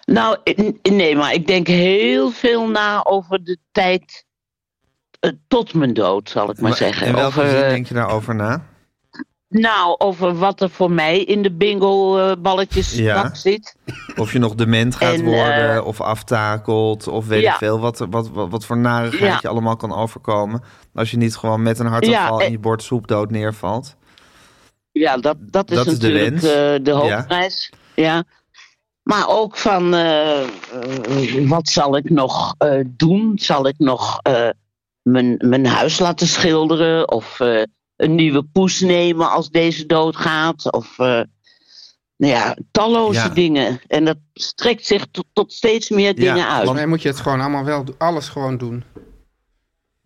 Speaker 7: Nou, n- nee, maar ik denk heel veel na over de tijd eh, tot mijn dood, zal ik maar, zeggen.
Speaker 2: In welke
Speaker 7: over,
Speaker 2: zin
Speaker 7: eh,
Speaker 2: denk je daarover na?
Speaker 7: nou, over wat er voor mij in de bingo-balletjes
Speaker 2: Ja.
Speaker 7: straks zit.
Speaker 2: Of je nog dement gaat
Speaker 7: En,
Speaker 2: worden,
Speaker 7: eh,
Speaker 2: of aftakelt, of weet
Speaker 7: ja.
Speaker 2: ik veel. Wat, wat, wat, wat voor narigheid
Speaker 7: Ja.
Speaker 2: je allemaal kan overkomen. Als je niet gewoon met een hartaanval
Speaker 7: Ja,
Speaker 2: in je bord soep dood neervalt.
Speaker 7: Ja, dat, dat is
Speaker 2: Dat is de
Speaker 7: natuurlijk
Speaker 2: wens.
Speaker 7: eh, de hoofdprijs. Ja. Maar ook van eh, eh, wat zal ik nog eh, doen? Zal ik nog eh, mijn, mijn huis laten schilderen? Of eh, een nieuwe poes nemen als deze doodgaat? Of eh, nou ja, talloze
Speaker 2: Ja.
Speaker 7: dingen. En dat strekt zich tot, tot steeds meer
Speaker 2: Ja,
Speaker 7: dingen uit.
Speaker 3: Volgens mij moet je het gewoon allemaal wel doen. Alles gewoon doen.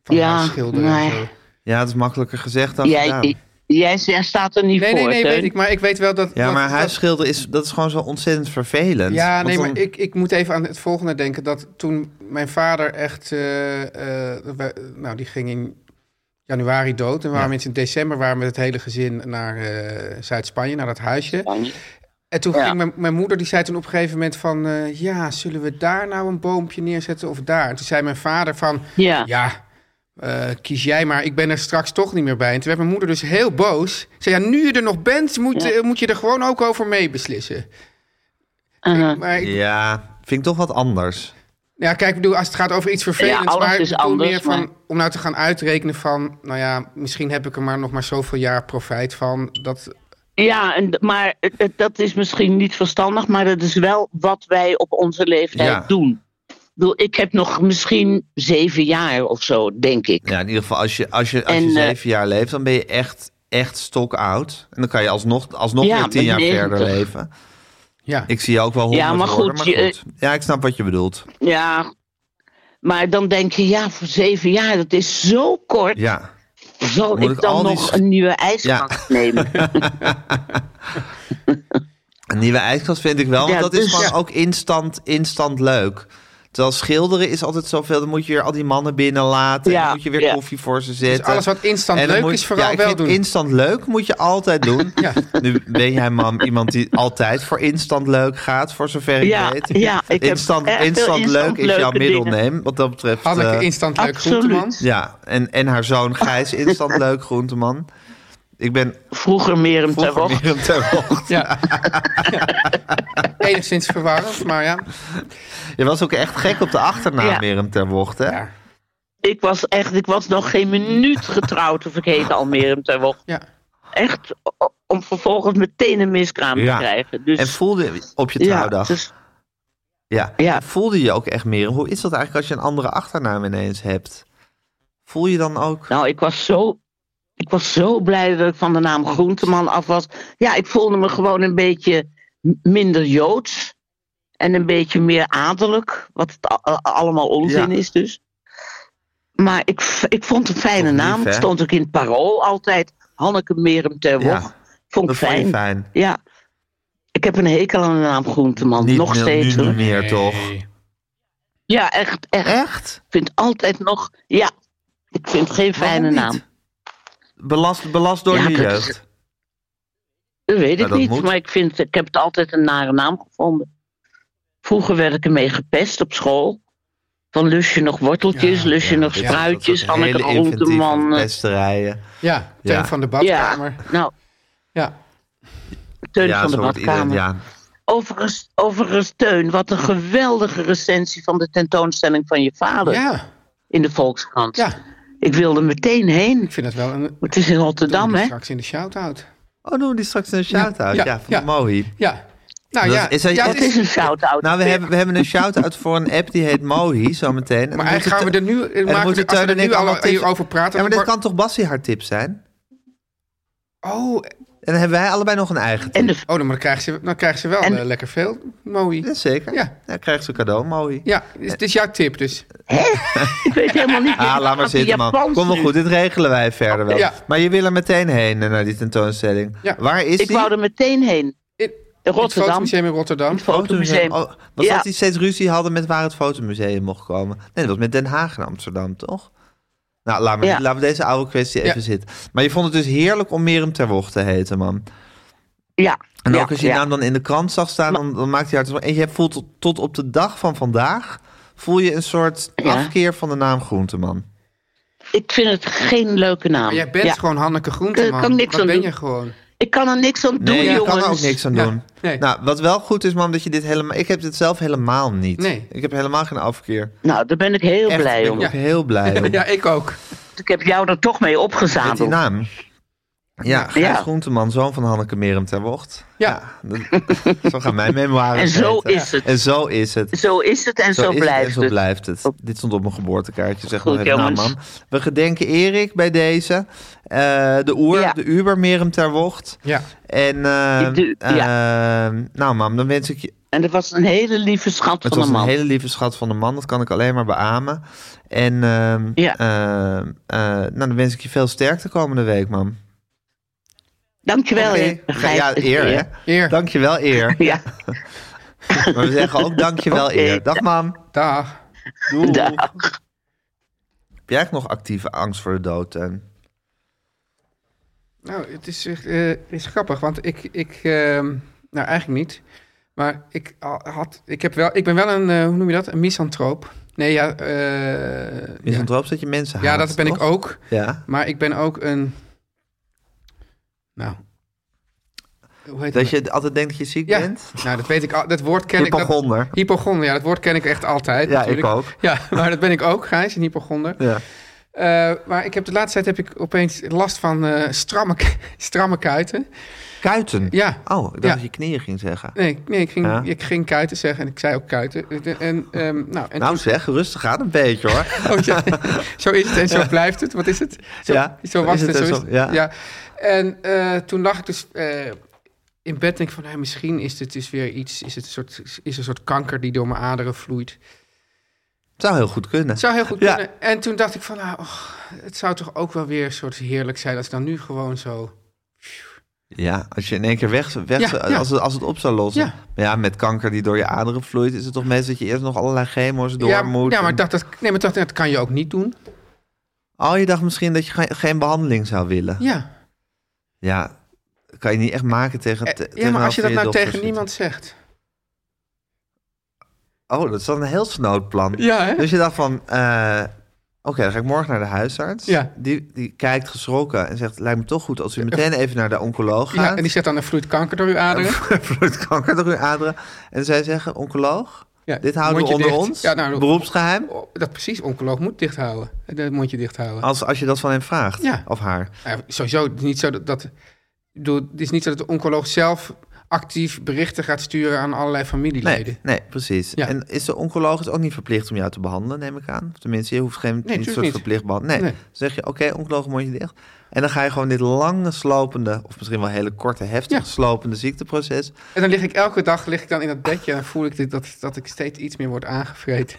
Speaker 3: Van
Speaker 7: Ja,
Speaker 3: haar schilderen
Speaker 7: nee.
Speaker 3: en zo.
Speaker 2: Ja, het is makkelijker gezegd dan gedaan.
Speaker 7: Jij, jij staat er niet
Speaker 3: Nee,
Speaker 7: voor.
Speaker 3: nee, nee,
Speaker 7: Teun.
Speaker 3: weet ik. Maar ik weet wel dat...
Speaker 2: Ja,
Speaker 3: dat-
Speaker 2: maar
Speaker 3: dat-
Speaker 2: huisschilder is, dat is gewoon zo ontzettend vervelend.
Speaker 3: Ja,
Speaker 2: Want
Speaker 3: nee,
Speaker 2: dan-
Speaker 3: maar ik, ik moet even aan het volgende denken. Dat toen mijn vader echt... eh, eh, wij- nou, die ging in januari dood. En we waren mensen in december waren we met het hele gezin naar eh, Zuid-Spanje, naar dat huisje. En toen
Speaker 7: Ja.
Speaker 3: ging mijn, mijn moeder, die zei toen op een gegeven moment van... eh, ja, zullen we daar nou een boompje neerzetten of daar? En toen zei mijn vader van...
Speaker 7: Ja.
Speaker 3: Ja, eh, kies jij maar. Ik ben er straks toch niet meer bij. En toen werd mijn moeder dus heel boos. Ze zei, ja, nu je er nog bent, moet,
Speaker 7: Ja.
Speaker 3: eh, moet je er gewoon ook over meebeslissen.
Speaker 7: Uh-huh.
Speaker 3: Maar ik-
Speaker 2: Ja, vind ik toch wat anders.
Speaker 3: ja, kijk, ik bedoel, als het gaat over iets vervelends...
Speaker 7: Ja, alles
Speaker 3: maar ik
Speaker 7: is
Speaker 3: bedoel
Speaker 7: anders,
Speaker 3: meer van,
Speaker 7: maar-
Speaker 3: om nou te gaan uitrekenen van... nou ja, misschien heb ik er maar nog maar zoveel jaar profijt van. Dat,
Speaker 7: Ja, en, d- maar het- het- dat is misschien niet verstandig, maar dat is wel wat wij op onze leeftijd
Speaker 2: Ja.
Speaker 7: doen. Ik, bedoel, ik heb nog misschien zeven jaar of zo, denk ik.
Speaker 2: Ja, in ieder geval, als je, als je, als je
Speaker 7: En, eh,
Speaker 2: zeven jaar leeft, dan ben je echt, echt stokoud. En dan kan je alsnog, alsnog
Speaker 7: Ja,
Speaker 2: weer tien
Speaker 7: met
Speaker 2: jaar
Speaker 7: 90.
Speaker 2: verder leven.
Speaker 3: ja.
Speaker 2: Ik zie je ook wel honderd
Speaker 7: Ja, maar
Speaker 2: worden,
Speaker 7: goed, je-
Speaker 2: Ja, ik snap wat je bedoelt.
Speaker 7: Ja, maar dan denk je, ja, voor zeven jaar, dat is zo kort.
Speaker 2: Ja.
Speaker 7: Zal
Speaker 2: Moet
Speaker 7: ik
Speaker 2: ik
Speaker 7: dan
Speaker 2: al die
Speaker 7: nog
Speaker 2: sch-
Speaker 7: een nieuwe ijskast nemen?
Speaker 2: Een nieuwe ijskast vind ik wel, want
Speaker 7: Ja,
Speaker 2: dat is
Speaker 7: dus-
Speaker 2: gewoon
Speaker 7: Ja.
Speaker 2: ook instant, instant leuk. Terwijl schilderen is altijd zoveel, dan moet je weer al die mannen binnenlaten. en
Speaker 7: Ja,
Speaker 2: dan moet je weer
Speaker 7: ja. Dus
Speaker 2: koffie voor ze zetten.
Speaker 3: alles wat instant
Speaker 2: En dan
Speaker 3: leuk
Speaker 2: moet-
Speaker 3: is, vooral
Speaker 2: ja, ik
Speaker 3: wel
Speaker 2: vind
Speaker 3: doen.
Speaker 2: instant leuk moet je altijd
Speaker 7: [laughs]
Speaker 2: doen.
Speaker 3: Ja.
Speaker 2: Nu ben jij, mam, iemand die altijd voor instant leuk gaat, voor zover ik
Speaker 7: Ja,
Speaker 2: weet.
Speaker 7: ja, ik heb
Speaker 2: instant,
Speaker 7: echt veel
Speaker 2: instant leuk
Speaker 7: instant
Speaker 2: is jouw
Speaker 7: leuke
Speaker 2: middelneem, wat dat betreft.
Speaker 3: Hanneke,
Speaker 2: eh,
Speaker 3: instant leuk
Speaker 7: absoluut.
Speaker 3: groenteman.
Speaker 2: ja, en, en haar
Speaker 7: [laughs]
Speaker 2: zoon Gijs, instant leuk groenteman. Ik ben
Speaker 7: Vroeger meer een ter
Speaker 2: vroeger
Speaker 7: Wog.
Speaker 2: meer een ter Wog.
Speaker 3: Ja. Enigszins verwarrend, maar ja.
Speaker 2: Je was ook echt gek op de achternaam
Speaker 7: Ja.
Speaker 2: Merem ter Wocht, hè?
Speaker 3: Ja.
Speaker 7: Ik was echt, ik was nog geen minuut getrouwd of ik heette al meer een ter Wog.
Speaker 3: ja.
Speaker 7: Echt o- om vervolgens meteen een miskraam
Speaker 2: Ja.
Speaker 7: te krijgen. Dus,
Speaker 2: En voelde op je
Speaker 7: ja,
Speaker 2: trouwdag. Ja,
Speaker 7: dus ja.
Speaker 2: Voelde je ook echt Merem? Hoe is dat eigenlijk als je een andere achternaam ineens hebt? Voel je dan ook...
Speaker 7: Nou, ik was zo. Ik was zo blij dat ik van de naam Groenteman af was. Ja, ik voelde me gewoon een beetje m- minder joods. En een beetje meer adellijk. Wat het a- a- allemaal onzin
Speaker 2: Ja.
Speaker 7: is, dus. Maar ik, v- ik vond het een fijne
Speaker 2: Toch lief,
Speaker 7: naam.
Speaker 2: hè?
Speaker 7: Het stond ook in het parool altijd. Hanneke Merem ter Wog.
Speaker 2: Ja,
Speaker 7: vond ik
Speaker 2: dat vond
Speaker 7: fijn.
Speaker 2: je fijn.
Speaker 7: Ja. Ik heb een hekel aan de naam Groenteman.
Speaker 2: Niet
Speaker 7: nog
Speaker 2: meer-
Speaker 7: steeds.
Speaker 2: Nu
Speaker 7: hoor.
Speaker 2: niet meer, toch?
Speaker 7: Ja, echt, echt.
Speaker 2: Echt?
Speaker 7: Ik vind altijd nog. Ja, Ik vind het geen fijne
Speaker 2: Waarom
Speaker 7: naam.
Speaker 2: niet? Belast, belast door
Speaker 7: Ja,
Speaker 2: je
Speaker 7: dat is-
Speaker 2: jeugd.
Speaker 7: Dat weet ik
Speaker 2: Nou, dat
Speaker 7: niet,
Speaker 2: moet.
Speaker 7: maar ik, vind, ik heb het altijd een nare naam gevonden. Vroeger werd ik ermee gepest op school. Van lus je nog worteltjes,
Speaker 3: Ja,
Speaker 7: lus je
Speaker 2: Ja,
Speaker 7: nog
Speaker 2: dat is- dat is
Speaker 7: spruitjes,
Speaker 2: ook
Speaker 7: Anneke
Speaker 2: hele inventieve
Speaker 7: Groenteman. eh,
Speaker 2: pesterijen.
Speaker 3: Ja, Teun
Speaker 2: Ja.
Speaker 3: van de
Speaker 7: Ja,
Speaker 3: badkamer.
Speaker 7: nou,
Speaker 3: Ja.
Speaker 7: Teun
Speaker 2: Ja,
Speaker 7: van de
Speaker 2: zo wordt
Speaker 7: badkamer.
Speaker 2: iedereen. Ja. Hm.
Speaker 7: Overigens, overigens, Teun, wat een geweldige recensie van de tentoonstelling van je vader
Speaker 3: Ja.
Speaker 7: in de Volkskrant.
Speaker 3: ja,
Speaker 7: Ik wilde meteen heen.
Speaker 3: ik vind dat wel een...
Speaker 7: Het is in Rotterdam,
Speaker 3: die
Speaker 7: hè?
Speaker 3: straks in de shout-out.
Speaker 2: Oh, doen we die straks een shout-out.
Speaker 3: Ja,
Speaker 2: Ja,
Speaker 3: ja,
Speaker 2: van
Speaker 3: ja.
Speaker 2: Mohi.
Speaker 3: Ja. Nou
Speaker 2: Dat
Speaker 3: ja,
Speaker 2: is- is hij-
Speaker 3: ja,
Speaker 2: dat
Speaker 7: Wat is een shout-out?
Speaker 2: Nou, we hebben, we hebben een shout-out voor een app die heet Mohi, zometeen. En dan
Speaker 3: Maar eigenlijk gaan
Speaker 2: moeten
Speaker 3: we er
Speaker 2: Te-
Speaker 3: nu...
Speaker 2: en dan
Speaker 3: maken we-
Speaker 2: moeten
Speaker 3: als we
Speaker 2: Teun
Speaker 3: er
Speaker 2: en ik
Speaker 3: nu
Speaker 2: allemaal
Speaker 3: al
Speaker 2: tips-
Speaker 3: over praten...
Speaker 2: Ja, maar dit
Speaker 3: dan
Speaker 2: kan toch Bassie haar tip zijn?
Speaker 3: wordt- Oh,
Speaker 2: En dan hebben wij allebei nog een eigen tip.
Speaker 7: En de,
Speaker 3: oh dan, maar dan, krijgen ze, dan krijgen ze wel
Speaker 7: En-
Speaker 3: eh, lekker veel, Mooi.
Speaker 2: Ja, zeker.
Speaker 3: Ja.
Speaker 2: Ja. Dan krijgt ze cadeau, Mohi.
Speaker 3: Ja, dus het is jouw tip dus.
Speaker 7: ik weet helemaal
Speaker 2: [laughs]
Speaker 7: niet.
Speaker 2: Ah, laat maar
Speaker 7: Gaat die
Speaker 2: zitten, man.
Speaker 7: Japans
Speaker 2: Kom wel
Speaker 7: nu?
Speaker 2: goed, dit regelen wij verder wel.
Speaker 3: Ja.
Speaker 2: Maar je wil er meteen heen, eh, naar die tentoonstelling.
Speaker 3: Ja.
Speaker 2: Waar is
Speaker 7: Ik
Speaker 2: die?
Speaker 7: wou er meteen heen.
Speaker 3: In,
Speaker 7: In
Speaker 3: Het
Speaker 7: Rotterdam.
Speaker 3: Fotomuseum in Rotterdam.
Speaker 7: Fotomuseum.
Speaker 2: Oh, was
Speaker 7: Ja.
Speaker 2: dat die steeds ruzie hadden met waar het fotomuseum mocht komen? Nee, dat was met Den Haag en Amsterdam, toch? Nou, laat maar,
Speaker 7: Ja.
Speaker 2: laten we deze oude kwestie
Speaker 3: Ja.
Speaker 2: even zitten. Maar je vond het dus heerlijk om Merem Terwocht te heten, man.
Speaker 7: Ja.
Speaker 2: En
Speaker 7: ja,
Speaker 2: ook als je je
Speaker 7: ja.
Speaker 2: naam dan in de krant zag staan, dan, dan maakt hij hard. En je voelt tot, tot op de dag van vandaag voel je een soort
Speaker 7: Ja.
Speaker 2: afkeer van de naam Groenteman.
Speaker 7: Ik vind het geen leuke naam.
Speaker 3: Maar jij bent
Speaker 7: Ja.
Speaker 3: gewoon Hanneke Groenteman.
Speaker 7: Ik kan niks
Speaker 3: dat
Speaker 7: aan
Speaker 3: ben
Speaker 7: doen.
Speaker 3: je gewoon.
Speaker 7: Ik kan er niks aan doen,
Speaker 2: Nee, je
Speaker 7: jongens.
Speaker 2: kan er ook niks aan
Speaker 3: Ja,
Speaker 2: doen.
Speaker 3: nee.
Speaker 2: Nou, wat wel goed is, man, dat je dit helemaal. Ik heb dit zelf helemaal niet.
Speaker 3: Nee.
Speaker 2: Ik heb helemaal geen afkeer.
Speaker 7: Nou, daar ben ik heel
Speaker 2: Echt,
Speaker 7: blij
Speaker 2: ben
Speaker 7: om.
Speaker 2: Ik ook heel blij om.
Speaker 3: [laughs] Ja, ik ook.
Speaker 7: Ik heb jou er toch mee
Speaker 2: Met die
Speaker 7: opgezadeld.
Speaker 2: naam. Ja, Gijs
Speaker 7: Ja.
Speaker 2: Groenteman, zoon van Hanneke Merem ter Wocht.
Speaker 3: Ja.
Speaker 7: [laughs]
Speaker 2: dat- zo gaan mijn memoires
Speaker 7: En zo
Speaker 2: heten.
Speaker 7: is het.
Speaker 2: En zo is het.
Speaker 7: Zo is het en zo,
Speaker 2: is het
Speaker 7: blijft
Speaker 2: en zo
Speaker 7: het.
Speaker 2: blijft het. Dit stond op mijn geboortekaartje. Zeg
Speaker 7: Goed,
Speaker 2: maar even na,
Speaker 7: jongens.
Speaker 2: man. We gedenken Erik bij deze. Eh, de Oer,
Speaker 7: Ja.
Speaker 2: de Uber Merem ter Wocht.
Speaker 3: Ja.
Speaker 2: En eh,
Speaker 7: De-
Speaker 2: eh, nou, mam, dan wens ik je
Speaker 7: En dat was een hele lieve schat
Speaker 2: Het
Speaker 7: van
Speaker 2: was
Speaker 7: een
Speaker 2: een
Speaker 7: man.
Speaker 2: hele lieve schat van de man, dat kan ik alleen maar beamen. En ehm,
Speaker 7: Ja.
Speaker 2: ehm, eh, nou, dan wens ik je veel sterkte komende week, man.
Speaker 7: Dankjewel,
Speaker 2: Oké.
Speaker 7: hè. Gijs.
Speaker 2: Ja, eer, hè?
Speaker 3: Eer.
Speaker 2: Dankjewel,
Speaker 7: [laughs]
Speaker 2: eer.
Speaker 7: Ja,
Speaker 2: Maar we zeggen ook dankjewel,
Speaker 7: Oké.
Speaker 2: eer. Dag, mam.
Speaker 3: Dag.
Speaker 2: Doei.
Speaker 7: dag.
Speaker 2: Heb jij eigenlijk nog actieve angst voor de dood, Eh, Teun?
Speaker 3: Nou, het is, echt, eh, het is grappig, want ik... ik ehm, nou, eigenlijk niet. Maar ik, al- had, ik, heb wel, ik ben wel een, eh, hoe noem je dat, een misantroop. Nee, ja... eh, ja.
Speaker 2: Misantroop is dat je mensen haat,
Speaker 3: ja, dat ben ik
Speaker 2: toch?
Speaker 3: ook.
Speaker 2: Ja.
Speaker 3: Maar ik ben ook een... Nou... Hoe heet
Speaker 2: Dat je altijd denkt dat je ziek
Speaker 3: Ja,
Speaker 2: bent?
Speaker 3: nou, dat weet ik al. Dat woord ken ik... dat-
Speaker 2: Hypochonder.
Speaker 3: Hypochonder, ja, dat woord ken ik echt altijd.
Speaker 2: Ja, ik
Speaker 3: natuurlijk.
Speaker 2: ook.
Speaker 3: Ja, [laughs] maar dat ben ik ook, Gijs, een hypochonder.
Speaker 2: Ja.
Speaker 3: Eh, maar ik heb de laatste tijd heb ik opeens last van eh, stramme, k- [laughs] stramme kuiten.
Speaker 2: Kuiten.
Speaker 3: Ja.
Speaker 2: Oh, ik dacht
Speaker 3: Ja.
Speaker 2: dat je knieën ging zeggen.
Speaker 3: Nee, nee ik, ging,
Speaker 2: Ja.
Speaker 3: ik ging kuiten zeggen en ik zei ook kuiten. En, ehm, nou, en
Speaker 2: Nou zeg, rustig aan een beetje, hoor.
Speaker 3: [laughs] Oh, ja. Zo is het en zo blijft het. Wat is het? Zo,
Speaker 2: Ja,
Speaker 3: zo was het en zo is het.
Speaker 2: ja.
Speaker 3: En eh, toen lag ik dus eh, in bed en ik van... nou, misschien is dit dus weer iets... Is het een soort, is een soort kanker die door mijn aderen vloeit.
Speaker 2: Zou heel goed kunnen.
Speaker 3: Het zou heel goed
Speaker 2: Ja.
Speaker 3: kunnen. En toen dacht ik van... Nou, och, het zou toch ook wel weer een soort heerlijk zijn... als ik dan nu gewoon zo...
Speaker 2: Ja, als je in één keer weg, weg
Speaker 3: Ja, ja.
Speaker 2: Als, het, als het op zou lossen.
Speaker 3: Ja.
Speaker 2: Ja. Maar ja, met kanker die door je aderen vloeit, is het toch meestal dat je eerst nog allerlei chemo's door
Speaker 3: ja,
Speaker 2: moet.
Speaker 3: ja, maar ik
Speaker 2: en-
Speaker 3: dacht, dat, nee, maar ik dacht, dat kan je ook niet doen.
Speaker 2: Oh, je dacht misschien dat je ge- geen behandeling zou willen. Ja,
Speaker 3: Ja,
Speaker 2: kan je niet echt maken tegen.
Speaker 3: Eh,
Speaker 2: te-
Speaker 3: ja maar als je dat nou
Speaker 2: dokters
Speaker 3: tegen
Speaker 2: zit.
Speaker 3: niemand zegt...
Speaker 2: Oh, dat is dan een heel snood plan.
Speaker 3: Ja, hè?
Speaker 2: Dus je dacht van. eh, Oké, dan ga ik morgen naar de huisarts.
Speaker 3: Ja.
Speaker 2: Die, die kijkt geschrokken en zegt: Lijkt me toch goed als u meteen even naar de oncoloog gaat.
Speaker 3: Ja, en die
Speaker 2: [laughs]
Speaker 3: zegt dan, er vloeit kanker door uw aderen.
Speaker 2: vloedkanker door uw aderen. En zij zeggen, oncoloog,
Speaker 3: Ja,
Speaker 2: dit houden we
Speaker 3: mondje
Speaker 2: onder
Speaker 3: dicht.
Speaker 2: ons.
Speaker 3: Ja, nou,
Speaker 2: beroepsgeheim.
Speaker 3: Oh, Dat precies, oncoloog moet dicht houden. Het mondje dicht houden.
Speaker 2: Als, als je dat van hem vraagt,
Speaker 3: Ja.
Speaker 2: of haar.
Speaker 3: Ja, sowieso, het is niet zo dat, dat, ik bedoel, het is niet zo dat de oncoloog zelf actief berichten gaat sturen aan allerlei familieleden.
Speaker 2: Nee, nee precies.
Speaker 3: Ja.
Speaker 2: En is de oncoloog is ook niet verplicht om jou te behandelen, neem ik aan? Of tenminste, je hoeft geen
Speaker 3: natuurlijk
Speaker 2: niet soort
Speaker 3: niet.
Speaker 2: verplicht behandeling. Nee,
Speaker 3: Nee.
Speaker 2: Dan zeg je, oké, oncoloog, mondje dicht. En dan ga je gewoon dit lange slopende, of misschien wel hele korte, heftig
Speaker 3: Ja.
Speaker 2: slopende ziekteproces.
Speaker 3: En dan lig ik elke dag lig ik dan in dat bedje en dan voel ik dit, dat, dat ik steeds iets meer word
Speaker 2: [laughs]
Speaker 3: aangevreten.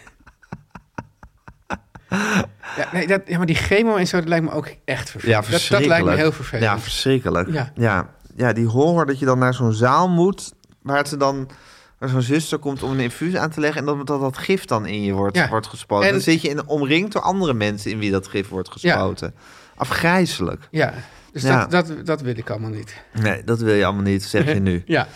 Speaker 3: ja, nee, dat, ja, maar die chemo en zo, dat lijkt me ook echt
Speaker 2: Ja,
Speaker 3: vervelend. Dat- dat,
Speaker 2: verschrikkelijk.
Speaker 3: lijkt me heel vervelend.
Speaker 2: Ja, verschrikkelijk.
Speaker 3: Ja.
Speaker 2: Ja. Ja, die horror dat je dan naar zo'n zaal moet, waar ze dan waar zo'n zuster komt om een infuus aan te leggen en dat dat, dat gif dan in je wordt,
Speaker 3: Ja.
Speaker 2: wordt gespoten.
Speaker 3: En-
Speaker 2: Dan zit je in, omringd door andere mensen in wie dat gif wordt gespoten. Afgrijzelijk.
Speaker 3: Ja, dus
Speaker 2: Ja.
Speaker 3: Dat, dat, dat wil ik allemaal niet.
Speaker 2: Nee, dat wil je allemaal niet, zeg je nu.
Speaker 3: [laughs] Ja,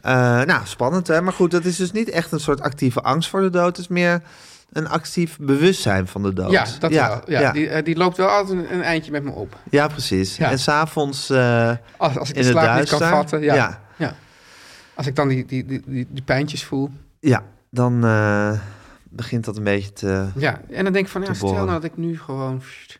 Speaker 2: Eh, nou, spannend hè. Maar goed, dat is dus niet echt een soort actieve angst voor de dood. Het is meer een actief bewustzijn van de dood.
Speaker 3: ja dat wel. Ja,
Speaker 2: ja.
Speaker 3: Die, eh, die loopt wel altijd een, een eindje met me op.
Speaker 2: Ja, precies.
Speaker 3: Ja.
Speaker 2: En s'avonds eh
Speaker 3: Als, als ik de
Speaker 2: in het
Speaker 3: slaap niet
Speaker 2: duister.
Speaker 3: kan vatten. Ja.
Speaker 2: ja.
Speaker 3: Als ik dan die, die, die, die, die pijntjes voel.
Speaker 2: Ja, dan eh, begint dat een beetje te...
Speaker 3: Ja, en dan denk ik van, ja,
Speaker 2: Te
Speaker 3: stel
Speaker 2: boren.
Speaker 3: nou dat ik nu gewoon... pssst.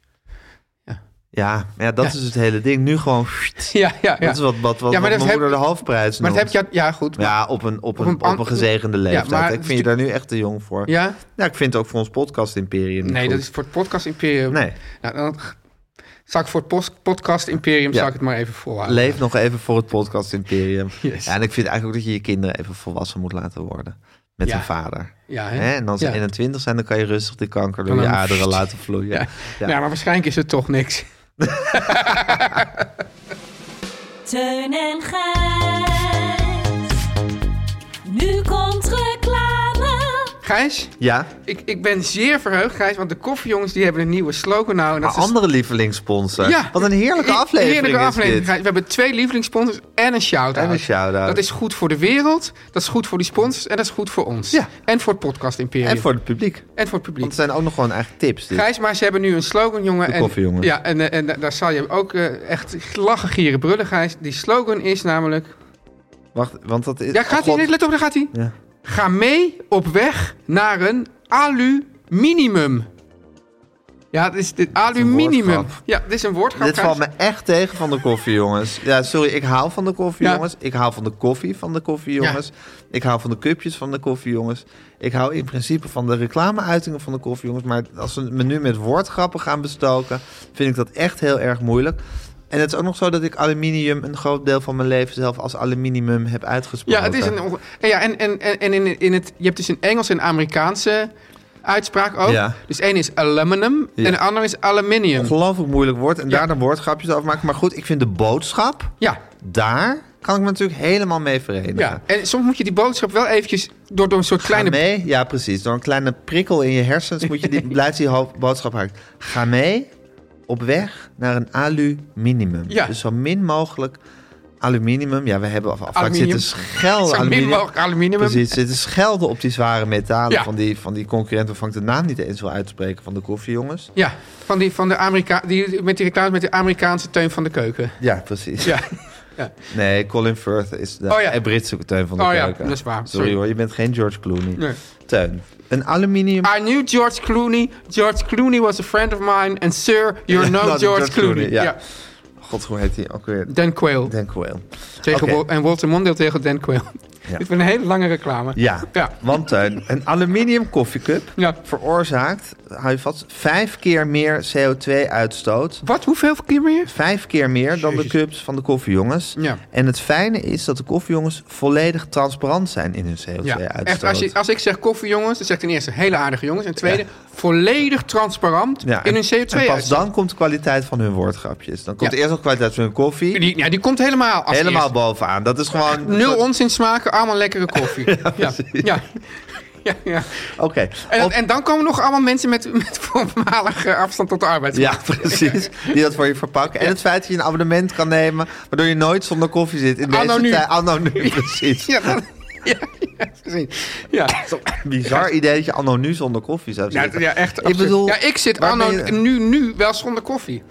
Speaker 2: Ja, maar ja dat
Speaker 3: Ja.
Speaker 2: is dus het hele ding. Nu gewoon... pssst.
Speaker 3: [laughs] Ja, ja, ja.
Speaker 2: Dat is wat, wat, wat,
Speaker 3: Ja, maar
Speaker 2: wat
Speaker 3: dat
Speaker 2: mijn
Speaker 3: heb-
Speaker 2: moeder de halfprijs
Speaker 3: maar dat heb
Speaker 2: noemt.
Speaker 3: je... Ja, goed. maar-
Speaker 2: Ja, op een, op
Speaker 3: Op
Speaker 2: een,
Speaker 3: een
Speaker 2: op
Speaker 3: an-
Speaker 2: een gezegende leeftijd.
Speaker 3: maar
Speaker 2: ik vind je daar nu echt te jong voor. Ja.
Speaker 3: ja?
Speaker 2: ik vind het ook voor ons podcast-imperium niet
Speaker 3: Nee, dat
Speaker 2: goed.
Speaker 3: is voor het podcast-imperium.
Speaker 2: Nee,
Speaker 3: Nou, dan zou ik voor het post- podcast-imperium
Speaker 2: Ja.
Speaker 3: zou ik het maar even volhouden.
Speaker 2: leef nog even voor het podcast-imperium.
Speaker 3: [laughs] Yes.
Speaker 2: Ja, en ik vind eigenlijk ook dat je je kinderen even volwassen moet laten worden. Met
Speaker 3: Ja.
Speaker 2: hun vader.
Speaker 3: Ja, hè?
Speaker 2: Hè? En als ze
Speaker 3: Ja.
Speaker 2: 21 zijn, dan kan je rustig de kanker door
Speaker 3: Dan
Speaker 2: je
Speaker 3: een-
Speaker 2: aderen laten vloeien.
Speaker 3: [laughs] Ja. Nou,
Speaker 2: Ja.
Speaker 3: Ja, maar waarschijnlijk is het toch niks.
Speaker 6: Teun en Gijs. Nu komt reclame.
Speaker 3: Gijs,
Speaker 2: Ja,
Speaker 3: ik, ik ben zeer verheugd, Gijs, want de koffiejongens die hebben een nieuwe slogan nou. En
Speaker 2: Een
Speaker 3: dat is-
Speaker 2: andere lievelingssponsor. Wat een heerlijke
Speaker 3: He-
Speaker 2: aflevering
Speaker 3: heerlijke aflevering,
Speaker 2: is dit.
Speaker 3: Gijs. We hebben twee lievelingssponsors en een shout-out.
Speaker 2: En een shout-out.
Speaker 3: Dat is goed voor de wereld, dat is goed voor die sponsors en dat is goed voor ons.
Speaker 2: Ja.
Speaker 3: En voor het podcast imperium.
Speaker 2: En voor het publiek.
Speaker 3: en voor het publiek.
Speaker 2: Want het zijn ook nog gewoon eigen tips. dit.
Speaker 3: Gijs, maar ze hebben nu een slogan, jongen.
Speaker 2: De
Speaker 3: en-
Speaker 2: koffiejongens.
Speaker 3: Ja, en, eh, en da- daar zal je ook eh, echt lachen, gieren, brullen, Gijs. Die slogan is namelijk...
Speaker 2: Wacht, want dat is...
Speaker 3: Ja, gaat
Speaker 2: oh,
Speaker 3: hij? Let op, daar gaat hij.
Speaker 2: Ja.
Speaker 3: Ga mee op weg naar een aluminimum. Ja, het is dit aluminimum.
Speaker 2: woordgrap.
Speaker 3: Ja, dit is een woordgrap.
Speaker 2: Dit
Speaker 3: Gijs.
Speaker 2: valt me echt tegen van de koffie, jongens. Ja, sorry, ik haal van de koffie,
Speaker 3: Ja.
Speaker 2: jongens. Ik haal van de koffie van de koffie, jongens. Ik haal van de cupjes van de koffie, jongens. Ik hou in principe van de reclameuitingen van de koffie, jongens. Maar als ze me nu met woordgrappen gaan bestoken, vind ik dat echt heel erg moeilijk. En het is ook nog zo dat ik aluminium een groot deel van mijn leven zelf als aluminium heb uitgesproken.
Speaker 3: Ja, het is een. onge- en Ja, en, en, en, en in, in het, je hebt dus een Engels en Amerikaanse uitspraak ook.
Speaker 2: Ja.
Speaker 3: Dus één is aluminum
Speaker 2: Ja.
Speaker 3: en de ander is aluminium.
Speaker 2: ongelooflijk moeilijk woord. En
Speaker 3: Ja.
Speaker 2: daar dan woordgrapjes over maken. Maar goed, ik vind de boodschap,
Speaker 3: Ja,
Speaker 2: daar kan ik me natuurlijk helemaal mee verenigen.
Speaker 3: ja. En soms moet je die boodschap wel eventjes door, door een soort
Speaker 2: Ga
Speaker 3: kleine.
Speaker 2: mee, ja precies. Door een kleine prikkel in je hersens moet je
Speaker 3: [laughs]
Speaker 2: die, blijft die ho- boodschap haken. Ga mee op weg naar een aluminimum.
Speaker 3: Ja.
Speaker 2: Dus zo min mogelijk aluminium. Ja, we hebben af, vaak
Speaker 3: Aluminium.
Speaker 2: zitten schelden.
Speaker 3: Zo min
Speaker 2: aluminium.
Speaker 3: mogelijk aluminium.
Speaker 2: Precies, zitten schelden op die zware metalen
Speaker 3: Ja.
Speaker 2: van, die, van die concurrent waarvan ik de naam niet eens wil uitspreken van de koffiejongens.
Speaker 3: Ja, van, die, van de Amerika die, met die reclame met de Amerikaanse teun van de keuken.
Speaker 2: Ja, precies. [laughs]
Speaker 3: Ja,
Speaker 2: Nee, Colin Firth is de
Speaker 3: Oh ja.
Speaker 2: eh, Britse teun van de
Speaker 3: Oh ja,
Speaker 2: keuken.
Speaker 3: dat is waar.
Speaker 2: Sorry,
Speaker 3: Sorry.
Speaker 2: hoor, je bent geen George Clooney.
Speaker 3: nee.
Speaker 2: Teun, een aluminium...
Speaker 3: I knew George Clooney. George Clooney was a friend of mine. And sir, you're no
Speaker 2: Not
Speaker 3: George, Clooney. Ja.
Speaker 2: God, hoe heet hij ook weer?
Speaker 3: Dan Quayle.
Speaker 2: Dan Quayle.
Speaker 3: tegen
Speaker 2: Oké.
Speaker 3: Wal- en Walter Mondale tegen Dan Quayle.
Speaker 2: Ja.
Speaker 3: [laughs] Dit wordt een hele lange reclame.
Speaker 2: Ja,
Speaker 3: Ja.
Speaker 2: want Teun, een aluminium koffiecup
Speaker 3: Ja.
Speaker 2: veroorzaakt, hou je vast, vijf keer meer CO2-uitstoot.
Speaker 3: Wat? Hoeveel keer meer?
Speaker 2: Vijf keer meer dan de
Speaker 3: Jezus.
Speaker 2: cups van de koffiejongens.
Speaker 3: Ja.
Speaker 2: En het fijne is dat de koffiejongens volledig transparant zijn in hun
Speaker 3: Ja, echt. Als,
Speaker 2: CO2-uitstoot.
Speaker 3: je, als ik zeg koffie, jongens, dan zeg ik ten eerste hele aardige jongens. En tweede, volledig transparant in hun CO2
Speaker 2: En pas
Speaker 3: uitstoot.
Speaker 2: dan komt de kwaliteit van hun woordgrapjes. Dan komt
Speaker 3: Ja.
Speaker 2: eerst nog kwaliteit van hun koffie.
Speaker 3: Die, ja, die komt helemaal als
Speaker 2: helemaal
Speaker 3: eerste.
Speaker 2: bovenaan. Dat is gewoon...
Speaker 3: Nul
Speaker 2: dat-
Speaker 3: onzin smaken, allemaal lekkere
Speaker 2: [laughs]
Speaker 3: koffie. ja, ja, ja. ja,
Speaker 2: Oké.
Speaker 3: En,
Speaker 2: Op-
Speaker 3: en dan komen nog allemaal mensen met, met voormalige afstand tot de
Speaker 2: [laughs] Ja,
Speaker 3: arbeidsmarkt.
Speaker 2: precies. Die dat voor je verpakken. En het feit dat je een abonnement kan nemen... waardoor je nooit zonder koffie zit. In deze
Speaker 3: Anno nu.
Speaker 2: tijd. Anno nu, [laughs] precies.
Speaker 3: Ja, dat- ja, ja, precies. Ja.
Speaker 2: Bizar idee dat je anno nu zonder koffie zou
Speaker 3: Ja,
Speaker 2: zitten.
Speaker 3: ja, echt
Speaker 2: Ik
Speaker 3: absurd.
Speaker 2: bedoel,
Speaker 3: ja, ik zit
Speaker 2: waar ben
Speaker 3: anno,
Speaker 2: je-
Speaker 3: nu, nu wel zonder koffie.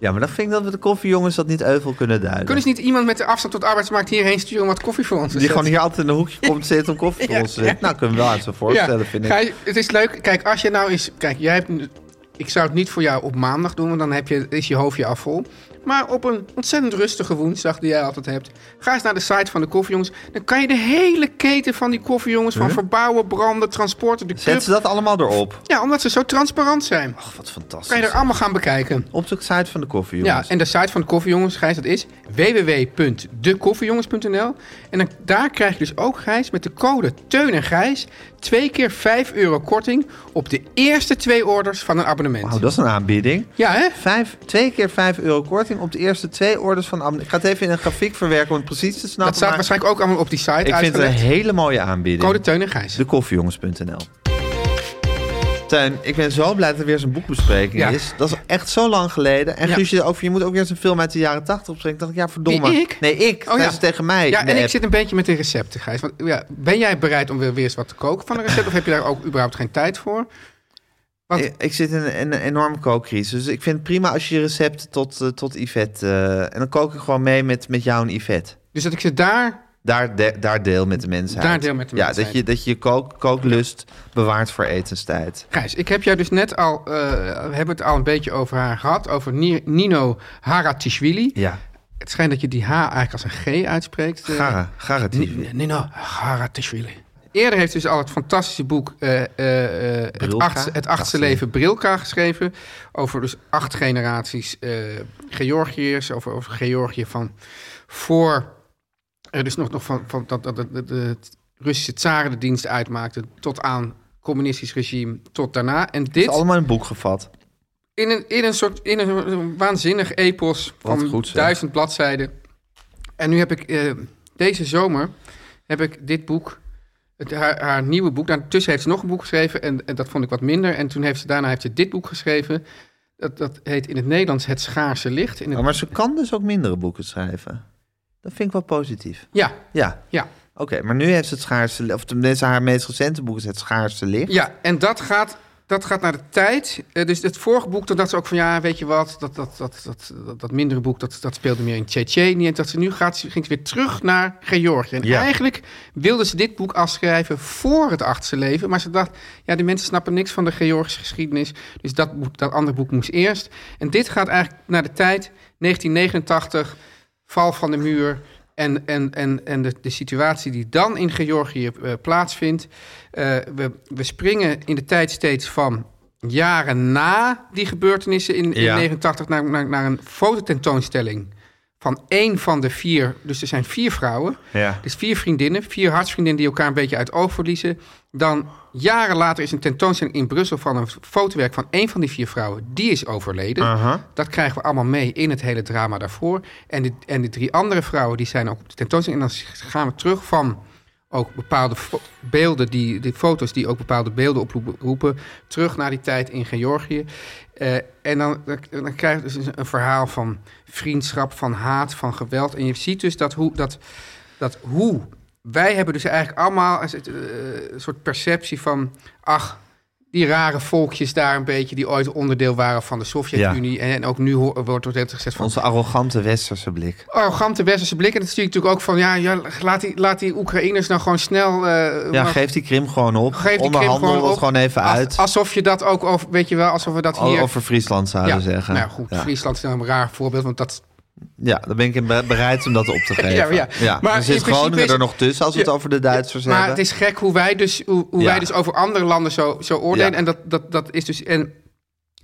Speaker 2: Ja, maar dan vind ik dat we de koffiejongens dat niet euvel kunnen duiden.
Speaker 3: Kunnen ze niet iemand met de afstand tot de arbeidsmarkt hierheen sturen om wat koffie voor ons te
Speaker 2: Die
Speaker 3: zetten?
Speaker 2: gewoon hier altijd in een hoekje komt zitten om koffie voor ons te zetten. Nou, kunnen we wel aan ze voorstellen, vind ik.
Speaker 3: Gijs, het is leuk. Kijk, als je nou eens... Kijk, jij hebt... een- Ik zou het niet voor jou op maandag doen, want dan heb je, is je hoofdje al vol. Maar op een ontzettend rustige woensdag die jij altijd hebt... ga eens naar de site van de koffiejongens. Dan kan je de hele keten van die koffiejongens... van verbouwen, branden, transporten, de
Speaker 2: Zet
Speaker 3: club...
Speaker 2: ze dat allemaal erop.
Speaker 3: Ja, omdat ze zo transparant zijn.
Speaker 2: Ach, wat fantastisch.
Speaker 3: Kan je er allemaal gaan bekijken.
Speaker 2: Op de site van de koffiejongens.
Speaker 3: Ja, en de site van de koffiejongens, Gijs, dat is www.dekoffiejongens.nl. En dan, daar krijg je dus ook, Gijs, met de code Teun en Gijs... twee keer 5 euro korting op de eerste twee orders van een abonnement.
Speaker 2: Wauw, dat is een aanbieding.
Speaker 3: Ja, hè?
Speaker 2: Vijf, twee keer 5 euro korting korting op de eerste twee orders van Amazon. Ik ga het even in een grafiek verwerken om het precies te snappen.
Speaker 3: Dat staat
Speaker 2: maar
Speaker 3: waarschijnlijk ook allemaal op die site
Speaker 2: ik vind het een
Speaker 3: uitgelegd.
Speaker 2: hele mooie aanbieding.
Speaker 3: Code Teun en Gijs.
Speaker 2: Dekoffiejongens.nl Tuin, ik ben zo blij dat er weer zo'n boekbespreking
Speaker 3: Ja.
Speaker 2: is. Dat is echt zo lang geleden. En
Speaker 3: Ja.
Speaker 2: Guusje, over, je moet ook weer eens een film uit de jaren tachtig opbrengen. Ik dacht, ja, verdomme.
Speaker 3: Wie, ik?
Speaker 2: Nee, ik.
Speaker 3: Oh,
Speaker 2: Hij
Speaker 3: ja.
Speaker 2: is tegen mij.
Speaker 3: Ja,
Speaker 2: in de
Speaker 3: en ik
Speaker 2: app.
Speaker 3: zit een beetje met de recepten, Gijs. Want, ja, ben jij bereid om weer weer eens wat te koken van een recept? of heb je daar ook überhaupt geen tijd voor? Wat-
Speaker 2: Ik, ik zit in een, in een enorme kookcrisis. Dus ik vind het prima als je je recepten tot, eh, tot Yvette... eh, en dan kook ik gewoon mee met, met jou en Yvette.
Speaker 3: Dus dat ik ze daar...
Speaker 2: Daar, de- daar deel met de mensheid.
Speaker 3: Daar deel met de
Speaker 2: ja,
Speaker 3: mensheid.
Speaker 2: Dat je, dat je je kook, kooklust bewaart voor etenstijd.
Speaker 3: Gijs, ik heb jou dus net al... eh, we hebben het al een beetje over haar gehad. Over Ni- Nino Haratishvili.
Speaker 2: Ja,
Speaker 3: Het schijnt dat je die H eigenlijk als een G uitspreekt. eh.
Speaker 2: gara, garatief.
Speaker 3: Ni- Nino Haratishvili. Eerder heeft dus al het fantastische boek eh, eh, eh, het,
Speaker 2: Brilka?
Speaker 3: achtste, het achtste leven Brilka geschreven. Over dus acht generaties eh, Georgiërs. Over, over Georgië van voor... er dus nog, nog van, van dat, dat, dat, dat de Russische tsaren de dienst uitmaakten... tot aan communistisch regime, tot daarna. En
Speaker 2: Het is
Speaker 3: dit
Speaker 2: allemaal in een boek gevat.
Speaker 3: in een, in een soort in een, een waanzinnig epos
Speaker 2: Wat
Speaker 3: van
Speaker 2: goed, zeg.
Speaker 3: duizend bladzijden. En nu heb ik eh, deze zomer heb ik dit boek, het, haar, haar nieuwe boek. Daartussen heeft ze nog een boek geschreven en, en dat vond ik wat minder. En toen heeft ze daarna heeft ze dit boek geschreven. Dat, dat heet in het Nederlands Het Schaarse Licht. In het,
Speaker 2: Oh, maar ze kan dus ook mindere boeken schrijven. Dat vind ik wel positief.
Speaker 3: Ja,
Speaker 2: Ja,
Speaker 3: ja.
Speaker 2: oké. maar nu heeft ze het schaarste... li- Of tenminste, haar meest recente boek is Het Schaarste Licht.
Speaker 3: Ja, en dat gaat, dat gaat naar de tijd. Eh, dus het vorige boek, toen dacht ze ook van ja, weet je wat, dat, dat, dat, dat, dat, dat mindere boek, dat, dat speelde meer in Tsjetsjenië. En dat ze nu gaat, ze- ging ze weer terug naar Georgië. En
Speaker 2: Ja.
Speaker 3: eigenlijk wilde ze dit boek afschrijven voor het achtste leven. Maar ze dacht, ja, die mensen snappen niks van de Georgische geschiedenis. Dus dat, boek- dat andere boek moest eerst. En dit gaat eigenlijk naar de tijd 1989, val van de muur. En, en, en, en de, de situatie die dan in Georgië eh, plaatsvindt. Eh, we, we springen in de tijd steeds van jaren na die gebeurtenissen in, in
Speaker 2: Ja.
Speaker 3: 89 naar, naar, naar een fototentoonstelling van één van de vier. Dus er zijn vier vrouwen.
Speaker 2: Ja.
Speaker 3: Dus vier vriendinnen, vier hartsvriendinnen die elkaar een beetje uit oog verliezen. Dan jaren later is een tentoonstelling in Brussel van een fotowerk van één van die vier vrouwen. Die is overleden.
Speaker 2: Aha.
Speaker 3: Dat krijgen we allemaal mee in het hele drama daarvoor. En de, en de drie andere vrouwen die zijn ook op de tentoonstelling. En dan gaan we terug van ook bepaalde fo- beelden, die, die foto's die ook bepaalde beelden oproepen, terug naar die tijd in Georgië. Eh, en dan, dan krijg je dus een- een verhaal van vriendschap, van haat, van geweld. En je ziet dus dat hoe, dat, dat hoe wij hebben dus eigenlijk allemaal een soort, eh, een soort perceptie van, ach, die rare volkjes daar een beetje, die ooit onderdeel waren van de Sovjet-Unie. En, en ook nu ho- wordt er net gezegd van,
Speaker 2: Onze arrogante westerse blik.
Speaker 3: arrogante westerse blik. En dat zie ik natuurlijk ook van, ja, ja laat, die, laat die Oekraïners nou gewoon snel... eh,
Speaker 2: Ja,
Speaker 3: maar-
Speaker 2: geef die krim gewoon op.
Speaker 3: Geef die krim
Speaker 2: Onderhandel
Speaker 3: gewoon
Speaker 2: het
Speaker 3: op.
Speaker 2: gewoon even
Speaker 3: Als-
Speaker 2: uit.
Speaker 3: alsof je dat ook, over, weet je wel, alsof we dat
Speaker 2: Al-
Speaker 3: hier...
Speaker 2: Over Friesland zouden
Speaker 3: ja,
Speaker 2: zeggen.
Speaker 3: Nou goed,
Speaker 2: ja.
Speaker 3: Friesland is nou een raar voorbeeld, want dat...
Speaker 2: Ja, dan ben ik in be- bereid om dat op te geven.
Speaker 3: [laughs] Ja,
Speaker 2: Ja,
Speaker 3: maar ja. Maar
Speaker 2: dan
Speaker 3: in
Speaker 2: zit
Speaker 3: principe
Speaker 2: Groningen
Speaker 3: is-
Speaker 2: er nog tussen als we het over de Duitsers
Speaker 3: Maar
Speaker 2: hebben.
Speaker 3: het is gek hoe wij dus, hoe, hoe
Speaker 2: Ja.
Speaker 3: wij dus over andere landen zo, zo oordelen.
Speaker 2: Ja.
Speaker 3: En dat, dat, dat is dus... En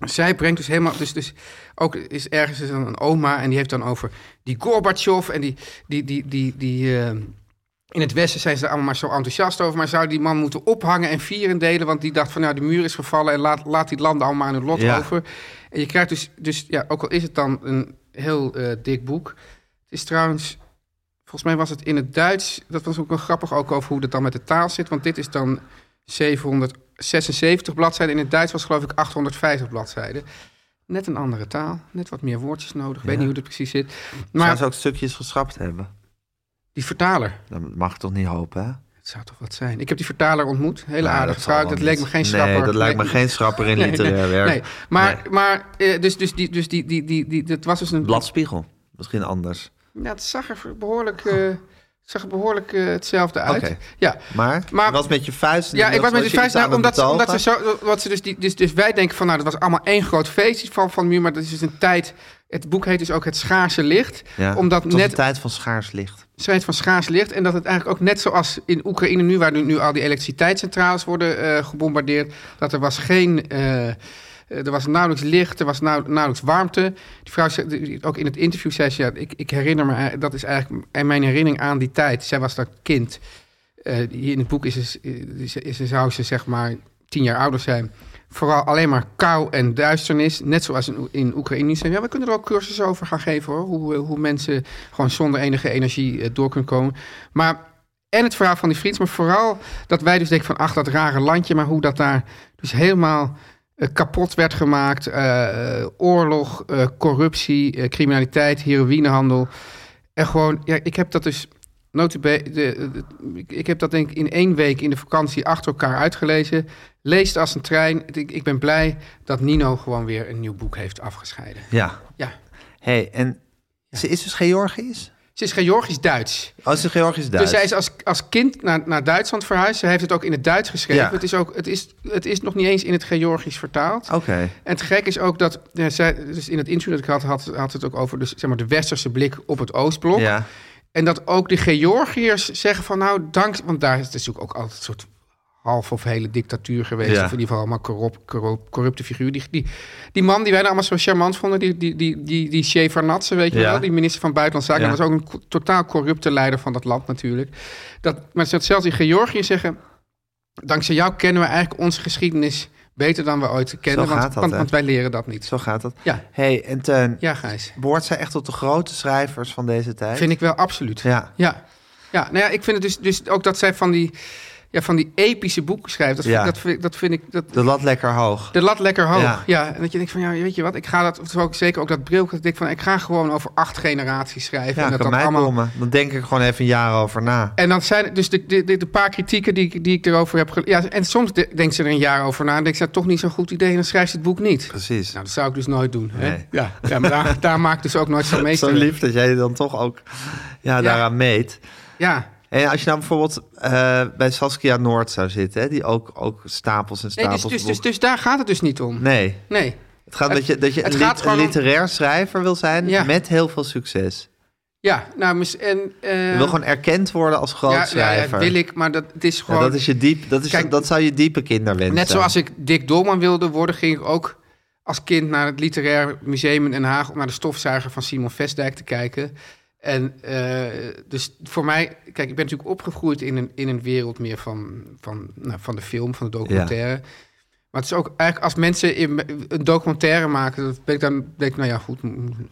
Speaker 3: zij brengt dus helemaal... Dus, dus ook is ergens is dan een oma en die heeft dan over die Gorbachev en die... die, die, die, die, eh, in het Westen zijn ze er allemaal maar zo enthousiast over. Maar zou die man moeten ophangen en vieren delen? Want die dacht van, nou, de muur is gevallen... en laat, laat die landen allemaal aan hun lot
Speaker 2: Ja.
Speaker 3: over. En je krijgt dus, dus, ja, ook al is het dan een heel eh, dik boek... Het is trouwens, volgens mij was het in het Duits... dat was ook wel grappig ook over hoe dat dan met de taal zit... want dit is dan 776 bladzijden. In het Duits was geloof ik 850 bladzijden. Net een andere taal, net wat meer woordjes nodig. Ik weet niet hoe dat precies zit.
Speaker 2: Gaan
Speaker 3: Maar
Speaker 2: ze ook stukjes geschrapt hebben?
Speaker 3: die vertaler,
Speaker 2: Dat mag ik toch niet hopen, hè?
Speaker 3: het zou toch wat zijn. Ik heb die vertaler ontmoet, hele
Speaker 2: Nou,
Speaker 3: aardige
Speaker 2: dat zal
Speaker 3: vrouw.
Speaker 2: wel
Speaker 3: Dat
Speaker 2: niet.
Speaker 3: leek me geen schrapper.
Speaker 2: Nee, dat lijkt me geen schrapper in
Speaker 3: [laughs] Nee,
Speaker 2: literair
Speaker 3: nee,
Speaker 2: werk.
Speaker 3: Nee, maar,
Speaker 2: Nee.
Speaker 3: maar eh, dus, dus, die, dus die, die, die, die, dat was dus een...
Speaker 2: Bladspiegel, misschien anders.
Speaker 3: Ja, het zag er behoorlijk, eh, het zag er behoorlijk eh, hetzelfde uit.
Speaker 2: Oké.
Speaker 3: Ja,
Speaker 2: Maar,
Speaker 3: Maar-
Speaker 2: je was met je vuist...
Speaker 3: Ja, ik was met die
Speaker 2: je iets
Speaker 3: vijf nou,
Speaker 2: aan het
Speaker 3: omdat, ze- omdat ze
Speaker 2: betogen.
Speaker 3: zo, wat ze dus, die, dus, dus wij denken van, nou, dat was allemaal één groot festival van de muur, maar dat is dus een tijd. Het boek heet dus ook het schaarse licht,
Speaker 2: Ja,
Speaker 3: omdat
Speaker 2: het was
Speaker 3: net
Speaker 2: een tijd van schaars licht.
Speaker 3: schijnt van schaars licht en dat het eigenlijk ook net zoals in Oekraïne nu, waar nu, nu al die elektriciteitscentrales worden eh, gebombardeerd, dat er was geen, eh, eh, er was nauwelijks licht, er was nauw- nauwelijks warmte. Die vrouw, zei- die- ook in het interview zei ze, ja, ik, ik herinner me, eh, dat is eigenlijk en mijn herinnering aan die tijd. Zij was dat kind. Eh, hier in het boek is, ze- is, is, zou ze zeg maar tien jaar ouder zijn. Vooral alleen maar kou en duisternis. Net zoals in, Oe- in Oekraïne. zijn. Ja, we kunnen er ook cursussen over gaan geven hoor. Hoe, eh, hoe mensen gewoon zonder enige energie eh, door kunnen komen. Maar en het verhaal van die vriend. Maar vooral dat wij dus denken van ach, dat rare landje. Maar hoe dat daar dus helemaal eh, kapot werd gemaakt. Eh, eh, oorlog, eh, corruptie, eh, criminaliteit, heroïnehandel. En gewoon, ja, ik heb dat dus. Notube, de, de- ik- ik heb dat denk ik in één week in de vakantie achter elkaar uitgelezen. Leest als een trein. Ik, ik ben blij dat Nino gewoon weer een nieuw boek heeft afgescheiden.
Speaker 2: Ja.
Speaker 3: Ja.
Speaker 2: hey, en ze is dus Georgisch?
Speaker 3: Ze is Georgisch-Duits.
Speaker 2: Oh, ze is Georgisch-Duits.
Speaker 3: Dus zij is als, als kind naar, naar Duitsland verhuisd. Ze heeft het ook in het Duits geschreven.
Speaker 2: Ja.
Speaker 3: Het, is ook, het, is, het is nog niet eens in het Georgisch vertaald.
Speaker 2: Oké.
Speaker 3: En het gek is ook dat ja, zij, dus in het interview dat ik had, had, had het ook over dus, zeg maar, de westerse blik op het Oostblok.
Speaker 2: Ja.
Speaker 3: En dat ook de Georgiërs zeggen van nou, dank. Want daar is het natuurlijk ook altijd een soort half of hele dictatuur geweest.
Speaker 2: Ja.
Speaker 3: Of in ieder geval allemaal corrupt, corrupt- corrupte figuur. Die, die, die man die wij nou allemaal zo charmant vonden, die, die, die, die, die Shevardnadze, weet je
Speaker 2: Ja.
Speaker 3: wel, die minister van Buitenlandse Zaken.
Speaker 2: Ja.
Speaker 3: Dat was ook een co- totaal corrupte leider van dat land natuurlijk. Dat, maar ze- zelfs in Georgië zeggen, dankzij jou kennen we eigenlijk onze geschiedenis beter dan we ooit kennen.
Speaker 2: Zo
Speaker 3: want,
Speaker 2: gaat dat,
Speaker 3: want,
Speaker 2: hè?
Speaker 3: want wij leren dat niet.
Speaker 2: Zo gaat dat.
Speaker 3: Ja.
Speaker 2: hey, en Teun,
Speaker 3: Ja, Gijs.
Speaker 2: behoort zij echt tot de grote schrijvers van deze tijd?
Speaker 3: Vind ik wel absoluut.
Speaker 2: Ja.
Speaker 3: Ja, ja. Nou ja ik vind het dus, dus ook dat zij van die, ja, van die epische boeken schrijft. Dat vind,
Speaker 2: Ja.
Speaker 3: ik- dat vind, ik- dat vind ik. Dat,
Speaker 2: De lat lekker hoog.
Speaker 3: de lat lekker hoog.
Speaker 2: Ja.
Speaker 3: Ja. En dat je denkt van, ja, weet je wat, ik ga dat, of ook zeker ook dat bril, dat ik denk van, ik ga gewoon over acht generaties schrijven.
Speaker 2: Ja,
Speaker 3: en dat
Speaker 2: kan
Speaker 3: dat
Speaker 2: mij
Speaker 3: allemaal.
Speaker 2: komen. Dan denk ik gewoon even een jaar over na.
Speaker 3: En dan zijn het dus de, de, de, de paar kritieken die, ik- die ik erover heb. gele- Ja, en soms de- denkt ze er een jaar over na en denkt ze, nou, toch niet zo'n goed idee en dan schrijft ze het boek niet.
Speaker 2: Precies.
Speaker 3: Nou, dat zou ik dus nooit doen. Hè?
Speaker 2: Nee.
Speaker 3: Ja, ja, maar daar, daar maak ik dus ook nooit zo'n
Speaker 2: [laughs]
Speaker 3: meester.
Speaker 2: Zo lief dat jij je dan toch ook ja, daaraan meet.
Speaker 3: Ja,
Speaker 2: En als je nou bijvoorbeeld eh, bij Saskia Noord zou zitten, hè, die ook, ook stapels en
Speaker 3: nee,
Speaker 2: stapels
Speaker 3: dus, dus, dus,
Speaker 2: boeken-
Speaker 3: dus daar gaat het dus niet om.
Speaker 2: Nee,
Speaker 3: nee.
Speaker 2: het gaat dat je, dat je
Speaker 3: Het
Speaker 2: een,
Speaker 3: gaat
Speaker 2: lit-
Speaker 3: gewoon
Speaker 2: een
Speaker 3: om-
Speaker 2: literair schrijver wil zijn
Speaker 3: Ja.
Speaker 2: met heel veel succes.
Speaker 3: Ja, nou, mis- en... eh,
Speaker 2: Je wil gewoon erkend worden als groot
Speaker 3: ja, ja, ja,
Speaker 2: schrijver.
Speaker 3: wil ik, maar dat het is
Speaker 2: Ja,
Speaker 3: gewoon...
Speaker 2: dat, is je diep, dat, is,
Speaker 3: Kijk,
Speaker 2: dat zou je diepe kinderwens
Speaker 3: net
Speaker 2: zijn.
Speaker 3: zoals ik Dick Dolman wilde worden, ging ik ook als kind naar het Literair Museum in Den Haag... om naar de stofzuiger van Simon Vestdijk te kijken. En eh, dus voor mij... Kijk, ik ben natuurlijk opgegroeid in een, in een wereld meer van, van, nou, van de film, van de documentaire... Maar het is ook eigenlijk als mensen in, een documentaire maken, dat ben ik dan denk ik, nou ja, goed, mm,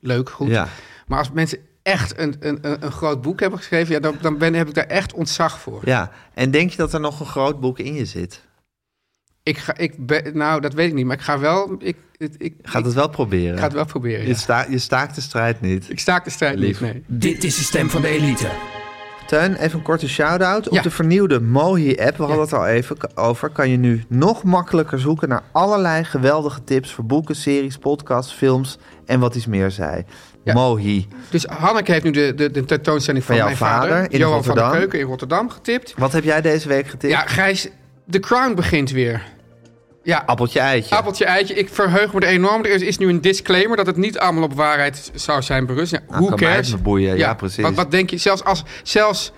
Speaker 3: leuk, goed.
Speaker 2: Ja.
Speaker 3: Maar als mensen echt een, een, een een groot boek hebben geschreven, ja, dan, dan ben, heb ik daar echt ontzag voor.
Speaker 2: Ja, en denk je dat er nog een groot boek in je zit?
Speaker 3: Ik ga, ik ben, nou, dat weet ik niet, maar ik ga wel, ik, ik, ik,
Speaker 2: Gaat
Speaker 3: ik
Speaker 2: het wel proberen?
Speaker 3: ga het wel proberen.
Speaker 2: je,
Speaker 3: ja.
Speaker 2: sta, je staakt de strijd niet.
Speaker 3: Ik staak de strijd
Speaker 2: Lief.
Speaker 3: niet, nee.
Speaker 5: Dit is de stem van de elite.
Speaker 2: Teun, even een korte shout-out. Op
Speaker 3: Ja.
Speaker 2: de vernieuwde Mohi-app, we hadden het al even k- over... kan je nu nog makkelijker zoeken naar allerlei geweldige tips... voor boeken, series, podcasts, films en wat iets meer zij.
Speaker 3: Ja.
Speaker 2: Mohi.
Speaker 3: Dus Hanneke heeft nu de, de, de tentoonstelling van,
Speaker 2: Van jouw
Speaker 3: mijn vader,
Speaker 2: vader in
Speaker 3: Johan
Speaker 2: Rotterdam.
Speaker 3: van der Keuken in Rotterdam, getipt.
Speaker 2: Wat heb jij deze week getipt?
Speaker 3: Ja, Gijs, The Crown begint weer. Ja,
Speaker 2: Appeltje eitje.
Speaker 3: Appeltje eitje, ik verheug me er enorm. Er is- is nu een disclaimer dat het niet allemaal op waarheid zou zijn berust. Ja,
Speaker 2: Nou,
Speaker 3: hoe
Speaker 2: kan mij
Speaker 3: cares?
Speaker 2: het me boeien. Ja, precies.
Speaker 3: Wat, wat denk je? Zelfs als zelfs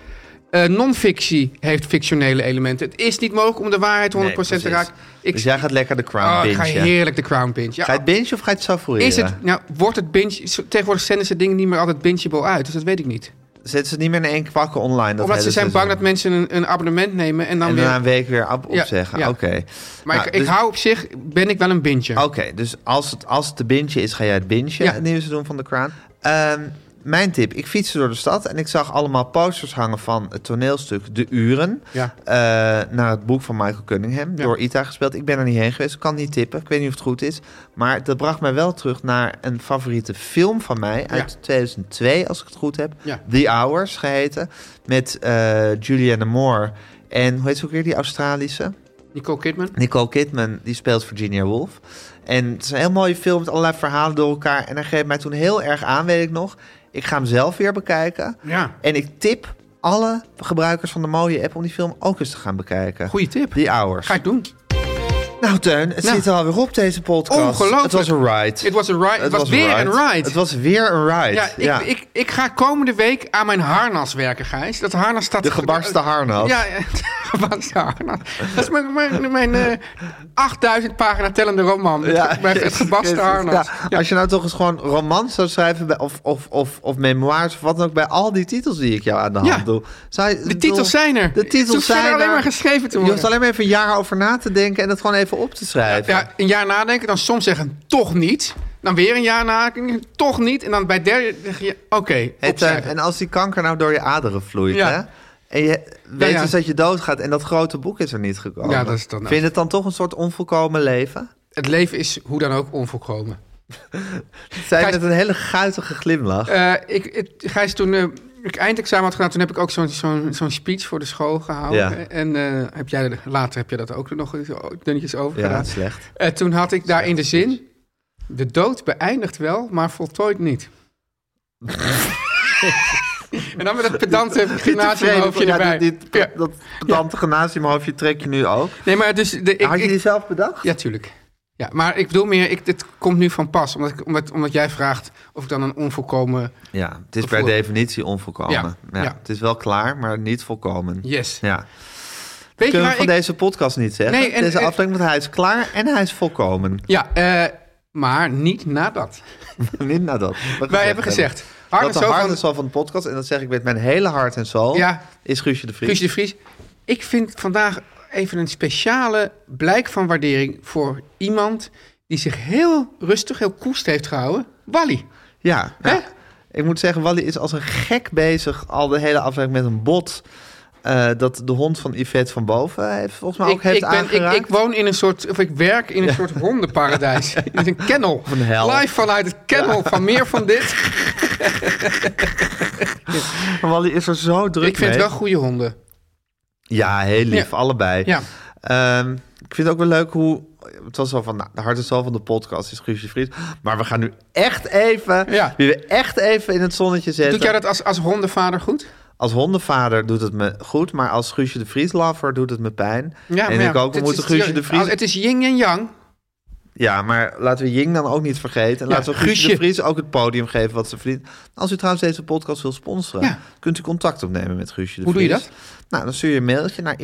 Speaker 3: eh, non-fictie heeft fictionele elementen. Het is niet mogelijk om de waarheid 100% te
Speaker 2: precies.
Speaker 3: raken. Ik,
Speaker 2: dus jij gaat lekker de crown
Speaker 3: oh, ik ga
Speaker 2: bingen.
Speaker 3: heerlijk de crown binge. Ja,
Speaker 2: Ga je het bingen of ga je het savoureren?
Speaker 3: is het, nou, wordt het binge... zo- Tegenwoordig zenden ze dingen niet meer altijd bingeable uit. Dus dat weet ik niet.
Speaker 2: Zetten ze het niet meer in één kwakken online? Dat hele
Speaker 3: Omdat ze zijn
Speaker 2: seizoen?
Speaker 3: bang dat mensen een, een abonnement nemen en dan
Speaker 2: En
Speaker 3: weer...
Speaker 2: daarna een week weer op
Speaker 3: Ja,
Speaker 2: opzeggen.
Speaker 3: ja.
Speaker 2: Oké.
Speaker 3: maar
Speaker 2: Nou,
Speaker 3: ik, ik
Speaker 2: dus-
Speaker 3: hou op zich, ben ik wel een binge.
Speaker 2: Oké, dus als het, als het te bingen is, ga jij het bingen.
Speaker 3: Ja.
Speaker 2: Het nieuwe seizoen van de Crown. Ehm, mijn tip. Ik fietste door de stad en ik zag allemaal posters hangen van het toneelstuk De Uren.
Speaker 3: Ja.
Speaker 2: Eh, naar het boek van Michael Cunningham.
Speaker 3: Ja.
Speaker 2: Door Ita gespeeld. Ik ben er niet heen geweest. Ik kan niet tippen. Ik weet niet of het goed is. Maar dat bracht mij wel terug naar een favoriete film van mij. Uit
Speaker 3: Ja.
Speaker 2: 2002, als ik het goed heb.
Speaker 3: Ja.
Speaker 2: The Hours geheten. Met eh, Julianne Moore. En hoe heet ze ook weer? Die Australische?
Speaker 3: Nicole Kidman.
Speaker 2: Nicole Kidman, die speelt Virginia Woolf. En het is een heel mooie film met allerlei verhalen door elkaar. En hij greep mij toen heel erg aan, weet ik nog. Ik ga hem zelf weer bekijken.
Speaker 3: Ja,
Speaker 2: En ik tip alle gebruikers van de mooie app om die film ook eens te gaan bekijken.
Speaker 3: goede tip.
Speaker 2: Die hours.
Speaker 3: Ga ik doen.
Speaker 2: Nou, Teun, het
Speaker 3: Nou.
Speaker 2: zit er alweer op deze podcast.
Speaker 3: Ongelooflijk.
Speaker 2: Het was een ride.
Speaker 3: Het was een ride. Het was, weer een ride.
Speaker 2: Het was weer een ride.
Speaker 3: ja, ik, Ik, ik ga komende week aan mijn harnas werken, Gijs. Dat harnas staat...
Speaker 2: De gebarsten harnas.
Speaker 3: Ja, [laughs] van Sarna. Dat is mijn, mijn, mijn eh, 8000 pagina tellende roman. Ja, het
Speaker 2: [laughs]
Speaker 3: gebaste harnas.
Speaker 2: Ja, Als je nou toch eens gewoon romans zou schrijven... Bij, of, of, of, of memoires of wat dan ook... bij al die titels die ik jou aan de hand
Speaker 3: Ja.
Speaker 2: doe. Zou je-
Speaker 3: De
Speaker 2: bedoel,
Speaker 3: titels zijn er.
Speaker 2: De
Speaker 3: Het
Speaker 2: titels
Speaker 3: hoeft verder
Speaker 2: zijn er.
Speaker 3: alleen maar geschreven te
Speaker 2: Je
Speaker 3: worden.
Speaker 2: hoeft alleen maar even een jaar over na te denken... en dat gewoon even op te schrijven.
Speaker 3: Ja, een jaar nadenken, dan soms zeggen toch niet. Dan weer een jaar nadenken, toch niet. En dan bij het derde zeg je, oké,
Speaker 2: Hey,
Speaker 3: opzij.
Speaker 2: Teun, en als die kanker nou door je aderen vloeit,
Speaker 3: Ja.
Speaker 2: hè? En je weet
Speaker 3: ja.
Speaker 2: dus dat je doodgaat en dat grote boek is er niet gekomen.
Speaker 3: Ja, dat is dan-
Speaker 2: Vind je het dan toch een soort onvolkomen leven?
Speaker 3: Het leven is hoe dan ook onvolkomen.
Speaker 2: Zij
Speaker 3: Gijs-
Speaker 2: met een hele guitige glimlach.
Speaker 3: Eh, ik, het, Gijs, toen eh, ik eindexamen had gedaan, toen heb ik ook zo'n zo'n zo'n speech voor de school gehouden.
Speaker 2: Ja.
Speaker 3: En eh, heb jij, later heb je dat ook nog eens o- dunnetjes over
Speaker 2: ja,
Speaker 3: gedaan.
Speaker 2: slecht.
Speaker 3: Eh, toen had ik daar in de zin, de dood beëindigt wel, maar
Speaker 2: [laughs]
Speaker 3: voltooid niet. en dan met dat pedante gymnasiumhoofdje
Speaker 2: Ja,
Speaker 3: erbij.
Speaker 2: dit- dit-
Speaker 3: Ja.
Speaker 2: Dat pedante gymnasiumhoofdje trek je nu ook.
Speaker 3: Nee, maar dus... De, ik,
Speaker 2: Had je
Speaker 3: ik-
Speaker 2: die zelf bedacht?
Speaker 3: Ja, tuurlijk. Ja, maar ik bedoel meer, ik, dit komt nu van pas. Omdat, ik, omdat, omdat jij vraagt of ik dan een onvolkomen...
Speaker 2: Ja, het is per
Speaker 3: Gevoel.
Speaker 2: definitie onvolkomen.
Speaker 3: Ja,
Speaker 2: Ja,
Speaker 3: ja.
Speaker 2: Het is wel klaar, maar niet volkomen.
Speaker 3: Yes.
Speaker 2: Ja.
Speaker 3: Weet je
Speaker 2: Kunnen we
Speaker 3: waar
Speaker 2: van
Speaker 3: ik...
Speaker 2: deze podcast niet zeggen.
Speaker 3: Nee, en-
Speaker 2: deze
Speaker 3: en-
Speaker 2: aflevering, want hij is klaar en hij is
Speaker 3: [laughs]
Speaker 2: volkomen.
Speaker 3: Ja, eh, maar niet nadat.
Speaker 2: niet nadat.
Speaker 3: Wij hebben gezegd, hart en
Speaker 2: dat de
Speaker 3: zo
Speaker 2: hart
Speaker 3: van
Speaker 2: en ziel van de podcast, en dat zeg ik met mijn hele hart en ziel,
Speaker 3: Ja.
Speaker 2: is Guusje de Vries.
Speaker 3: Guusje de Vries. Ik vind vandaag even een speciale blijk van waardering voor iemand... die zich heel rustig, heel koest heeft gehouden. Wally.
Speaker 2: Ja.
Speaker 3: Hè?
Speaker 2: ja. Ik moet zeggen, Wally is als een gek bezig al de hele aflevering met een bot... eh, dat de hond van Yvette van boven heeft, volgens mij ook
Speaker 3: Ik,
Speaker 2: heeft
Speaker 3: ik, ben, ik,
Speaker 2: aangeraakt.
Speaker 3: ik woon in een soort, of ik werk in een soort
Speaker 2: [laughs]
Speaker 3: hondenparadijs. Het is een kennel.
Speaker 2: Of een hel.
Speaker 3: Live vanuit het kennel van meer van
Speaker 2: [laughs]
Speaker 3: dit.
Speaker 2: Maar Wally is er zo druk
Speaker 3: Ik vind
Speaker 2: mee.
Speaker 3: wel goede honden.
Speaker 2: Ja, heel lief,
Speaker 3: Ja.
Speaker 2: allebei.
Speaker 3: Ja.
Speaker 2: Ehm, ik vind het ook wel leuk hoe... Het was al van nou, de hart en ziel van de podcast is Guusje de Vries. Maar we gaan nu echt even...
Speaker 3: Ja.
Speaker 2: Wie we echt even in het zonnetje zetten.
Speaker 3: Doet jij dat als, als hondenvader goed?
Speaker 2: Als hondenvader doet het me goed, maar als Guusje de Vries lover doet het me pijn.
Speaker 3: maar
Speaker 2: en ik ook, we
Speaker 3: het
Speaker 2: moeten
Speaker 3: is-
Speaker 2: Guusje de Vries...
Speaker 3: Het is yin en yang.
Speaker 2: Ja, maar laten we Jing dan ook niet vergeten. En
Speaker 3: Ja,
Speaker 2: laten we Guusje,
Speaker 3: Guusje.
Speaker 2: de Vries ook het podium geven wat ze verdient. Als u trouwens deze podcast wil sponsoren,
Speaker 3: Ja.
Speaker 2: kunt u contact opnemen met Guusje de
Speaker 3: Hoe doe
Speaker 2: Vries.
Speaker 3: je
Speaker 2: Nou, dan stuur je een mailtje naar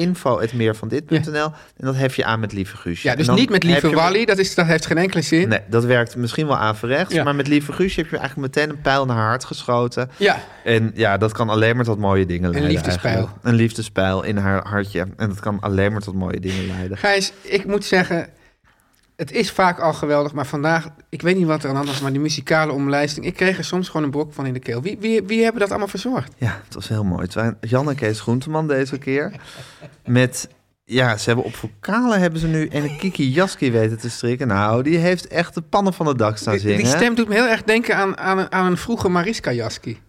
Speaker 2: info.meervandit.nl en dat hef je aan met lieve Guusje.
Speaker 3: Ja, dus
Speaker 2: En dan
Speaker 3: niet met
Speaker 2: heb
Speaker 3: lieve
Speaker 2: je-
Speaker 3: Wally, dat, is, dat heeft geen enkele zin.
Speaker 2: Nee, dat werkt misschien wel averechts,
Speaker 3: Ja.
Speaker 2: maar met lieve Guusje heb je eigenlijk meteen een pijl naar haar hart geschoten.
Speaker 3: Ja,
Speaker 2: En ja, dat kan alleen maar tot mooie dingen leiden.
Speaker 3: liefdespijl.
Speaker 2: eigenlijk. Een liefdespijl in haar hartje. En dat kan alleen maar tot mooie dingen leiden.
Speaker 3: Gijs, ik moet zeggen, het is vaak al geweldig, maar vandaag, ik weet niet wat er aan de hand was, maar die muzikale omlijsting, ik kreeg er soms gewoon een brok van in de keel. Wie, wie, wie hebben dat allemaal verzorgd?
Speaker 2: Ja, het was heel mooi. Het waren Jan en Kees Groenteman deze keer. Met, ja, ze hebben op vocalen hebben ze nu en Kiki Jaski weten te strikken. Nou, die heeft echt de pannen van de dak staan
Speaker 3: Die,
Speaker 2: zingen.
Speaker 3: die stem doet me heel erg denken aan, aan, een- aan een vroege Mariska Jaski.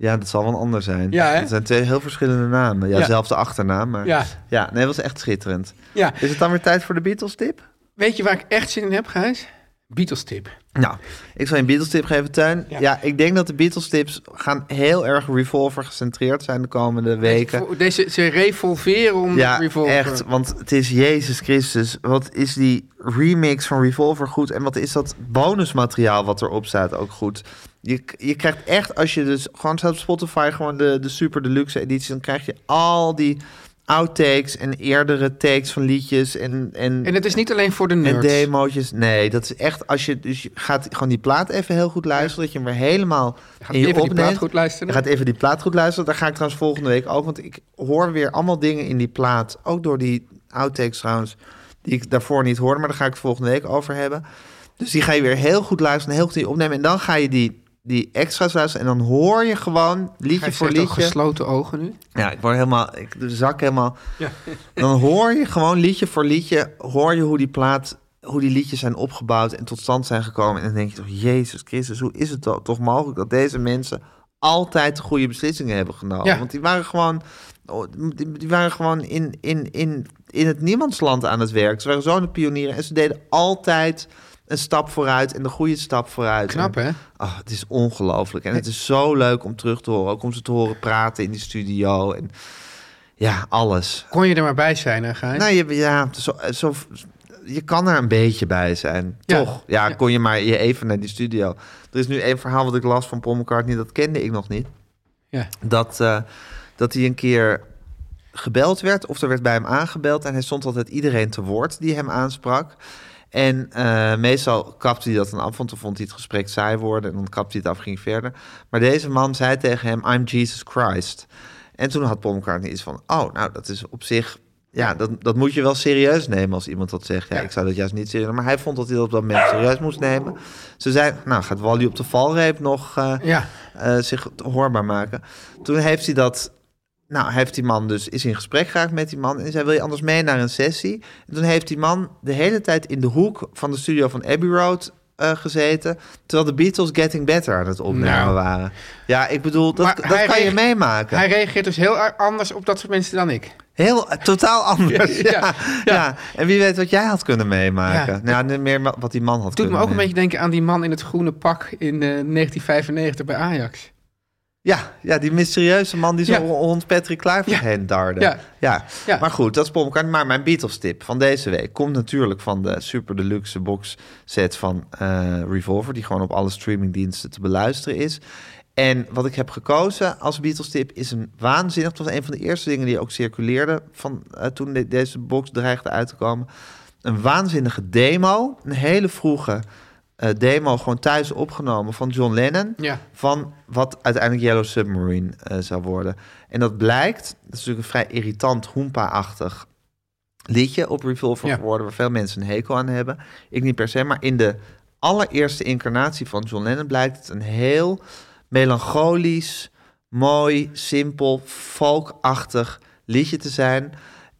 Speaker 2: Ja, dat zal wel een ander zijn.
Speaker 3: Ja, hè?
Speaker 2: Het zijn twee heel verschillende namen. Ja,
Speaker 3: Ja.
Speaker 2: zelfs de achternaam. Maar...
Speaker 3: Ja.
Speaker 2: ja, nee, dat was echt schitterend.
Speaker 3: Ja,
Speaker 2: Is het dan weer tijd voor de Beatles-tip?
Speaker 3: weet je waar ik echt zin in heb, Gijs? Beatles tip.
Speaker 2: Nou, ik zal je een Beatles-tip geven, Tuin. Ja. ik denk dat de Beatles-tips gaan heel erg revolver gecentreerd zijn de komende weken.
Speaker 3: Voor- Deze, ze revolveren om de
Speaker 2: Ja,
Speaker 3: revolver.
Speaker 2: echt, want het is Jezus Christus. Wat is die remix van Revolver goed? En wat is dat bonusmateriaal wat erop staat ook goed? Je, je krijgt echt, als je dus gewoon staat op Spotify, gewoon de, de super deluxe editie, dan krijg je al die outtakes en eerdere takes van liedjes en, en,
Speaker 3: En het is niet alleen voor de
Speaker 2: en
Speaker 3: nerds.
Speaker 2: demootjes. Nee, dat is echt, als je dus je gaat gewoon die plaat even heel goed luisteren, dat je hem weer helemaal
Speaker 3: Gaat
Speaker 2: in je
Speaker 3: even die
Speaker 2: opneemt.
Speaker 3: plaat goed luisteren.
Speaker 2: Je gaat even die plaat goed luisteren. Daar ga ik trouwens volgende week ook. Want ik hoor weer allemaal dingen in die plaat. Ook door die outtakes trouwens. Die ik daarvoor niet hoorde. Maar daar ga ik het volgende week over hebben. Dus die ga je weer heel goed luisteren. Heel goed in je opnemen. En dan ga je die, die extra's luisteren. En dan hoor je gewoon
Speaker 3: Ga
Speaker 2: liedje
Speaker 3: je
Speaker 2: voor
Speaker 3: zegt ook
Speaker 2: liedje.
Speaker 3: gesloten ogen nu?
Speaker 2: Ja, ik word helemaal, ik de zak helemaal. Dan hoor je gewoon liedje voor liedje, hoor je hoe die plaat, hoe die liedjes zijn opgebouwd en tot stand zijn gekomen. En dan denk je toch, Jezus Christus, hoe is het to- toch mogelijk dat deze mensen altijd de goede beslissingen hebben genomen?
Speaker 3: Ja.
Speaker 2: Want die waren gewoon, oh, die die waren gewoon in, in, in, in het niemandsland aan het werk. Ze waren zo de pionieren en ze deden altijd een stap vooruit en de goede stap vooruit.
Speaker 3: Knap,
Speaker 2: En-
Speaker 3: hè?
Speaker 2: Ah, het is ongelooflijk. En het is zo leuk om terug te horen. Ook om ze te horen praten in die studio. En ja, alles.
Speaker 3: Kon je er maar bij zijn, hè, Gijs?
Speaker 2: Nou, je, ja, zo, zo, je kan er een beetje bij zijn.
Speaker 3: Ja.
Speaker 2: Toch? Ja, kon je maar je even naar die studio. Er is nu één verhaal wat ik las van Paul McCartney. Dat kende ik nog niet.
Speaker 3: Ja.
Speaker 2: Dat, eh, dat hij een keer gebeld werd of er werd bij hem aangebeld. En hij stond altijd iedereen te woord die hem aansprak. En eh, meestal kapte hij dat dan af, want dan vond hij het gesprek saai worden. En dan kapte hij het af, ging verder. Maar deze man zei tegen hem, I'm Jesus Christ. En toen had Paul McCartney iets van, oh, nou, dat is op zich... Ja, dat, dat moet je wel serieus nemen als iemand dat zegt. Ja, ik zou dat juist niet serieus Maar hij vond dat hij dat op dat moment serieus moest nemen. Ze zei, nou, gaat Wally op de valreep nog eh,
Speaker 3: Ja.
Speaker 2: eh, zich hoorbaar maken? Toen heeft hij dat nou, hij heeft die man dus is in gesprek geraakt met die man en zei: Wil je anders mee naar een sessie? En toen heeft die man de hele tijd in de hoek van de studio van Abbey Road eh, gezeten, terwijl de Beatles Getting Better aan het opnemen
Speaker 3: Nou.
Speaker 2: waren. Ja, ik bedoel, dat,
Speaker 3: Maar
Speaker 2: dat
Speaker 3: hij
Speaker 2: kan je
Speaker 3: reage-
Speaker 2: meemaken.
Speaker 3: Hij reageert dus heel a- anders op dat soort mensen dan ik.
Speaker 2: Heel eh, totaal anders.
Speaker 3: Ja,
Speaker 2: Ja,
Speaker 3: ja,
Speaker 2: ja,
Speaker 3: ja.
Speaker 2: En wie weet wat jij had kunnen meemaken.
Speaker 3: Ja.
Speaker 2: Nou, niet meer wat die man had
Speaker 3: Doet
Speaker 2: kunnen
Speaker 3: me ook een
Speaker 2: meemaken.
Speaker 3: beetje denken aan die man in het groene pak in eh, 1995 bij Ajax.
Speaker 2: Ja, ja, die mysterieuze man die zo
Speaker 3: Ja.
Speaker 2: rond Patrick Kluivert
Speaker 3: Ja.
Speaker 2: heen darde.
Speaker 3: Ja.
Speaker 2: Ja.
Speaker 3: Ja.
Speaker 2: Maar goed, dat is Paul McCartney. Maar mijn Beatles-tip van deze week komt natuurlijk van de super deluxe box set van eh, Revolver... die gewoon op alle streamingdiensten te beluisteren is. En wat ik heb gekozen als Beatles-tip is een waanzinnig... dat was een van de eerste dingen die ook circuleerde van, eh, toen de- deze box dreigde uit te komen. Een waanzinnige demo, een hele vroege... eh, demo gewoon thuis opgenomen van John Lennon
Speaker 3: Ja.
Speaker 2: van wat uiteindelijk Yellow Submarine eh, zou worden. En dat blijkt, dat is natuurlijk een vrij irritant, hoempa-achtig liedje op Revolver
Speaker 3: Ja.
Speaker 2: geworden... waar veel mensen een hekel aan hebben. Ik niet per se, maar in de allereerste incarnatie van John Lennon... blijkt het een heel melancholisch, mooi, simpel, folkachtig liedje te zijn...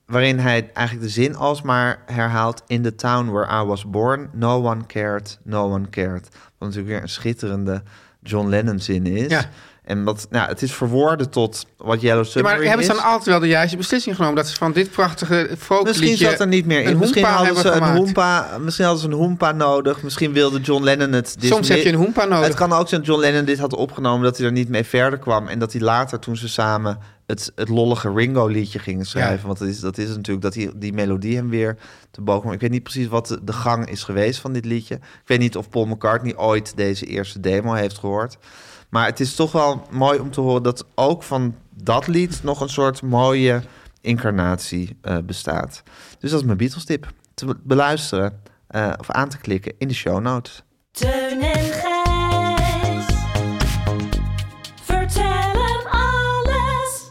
Speaker 2: waarin hij eigenlijk de zin alsmaar herhaalt... In the town where I was born, no one cared, no one cared. Wat natuurlijk weer een schitterende John Lennon-zin is...
Speaker 3: Ja.
Speaker 2: En wat, nou, het is verwoorden tot wat Yellow
Speaker 3: Ja,
Speaker 2: Submarine
Speaker 3: maar hebben ze
Speaker 2: is.
Speaker 3: dan altijd wel de juiste beslissing genomen? Dat ze van dit prachtige folkliedje...
Speaker 2: Misschien zat er niet meer
Speaker 3: een
Speaker 2: in. Misschien
Speaker 3: hoempa
Speaker 2: hadden, ze
Speaker 3: hebben
Speaker 2: een
Speaker 3: gemaakt.
Speaker 2: hoempa, misschien hadden ze een hoempa nodig. Misschien wilde John Lennon het...
Speaker 3: Soms heb je een hoempa nodig.
Speaker 2: Het kan ook zijn dat John Lennon dit had opgenomen... dat hij er niet mee verder kwam. En dat hij later, toen ze samen het, het lollige Ringo-liedje gingen schrijven...
Speaker 3: Ja.
Speaker 2: want dat is, dat is natuurlijk dat die, die melodie hem weer te boven... kwam. Ik weet niet precies wat de, de gang is geweest van dit liedje. Ik weet niet of Paul McCartney ooit deze eerste demo heeft gehoord... Maar het is toch wel mooi om te horen dat ook van dat lied nog een soort mooie incarnatie eh, bestaat. Dus dat is mijn Beatles tip. Te be- beluisteren eh, of aan te klikken in de show notes.
Speaker 6: Teun en Gijs. Vertel hem alles.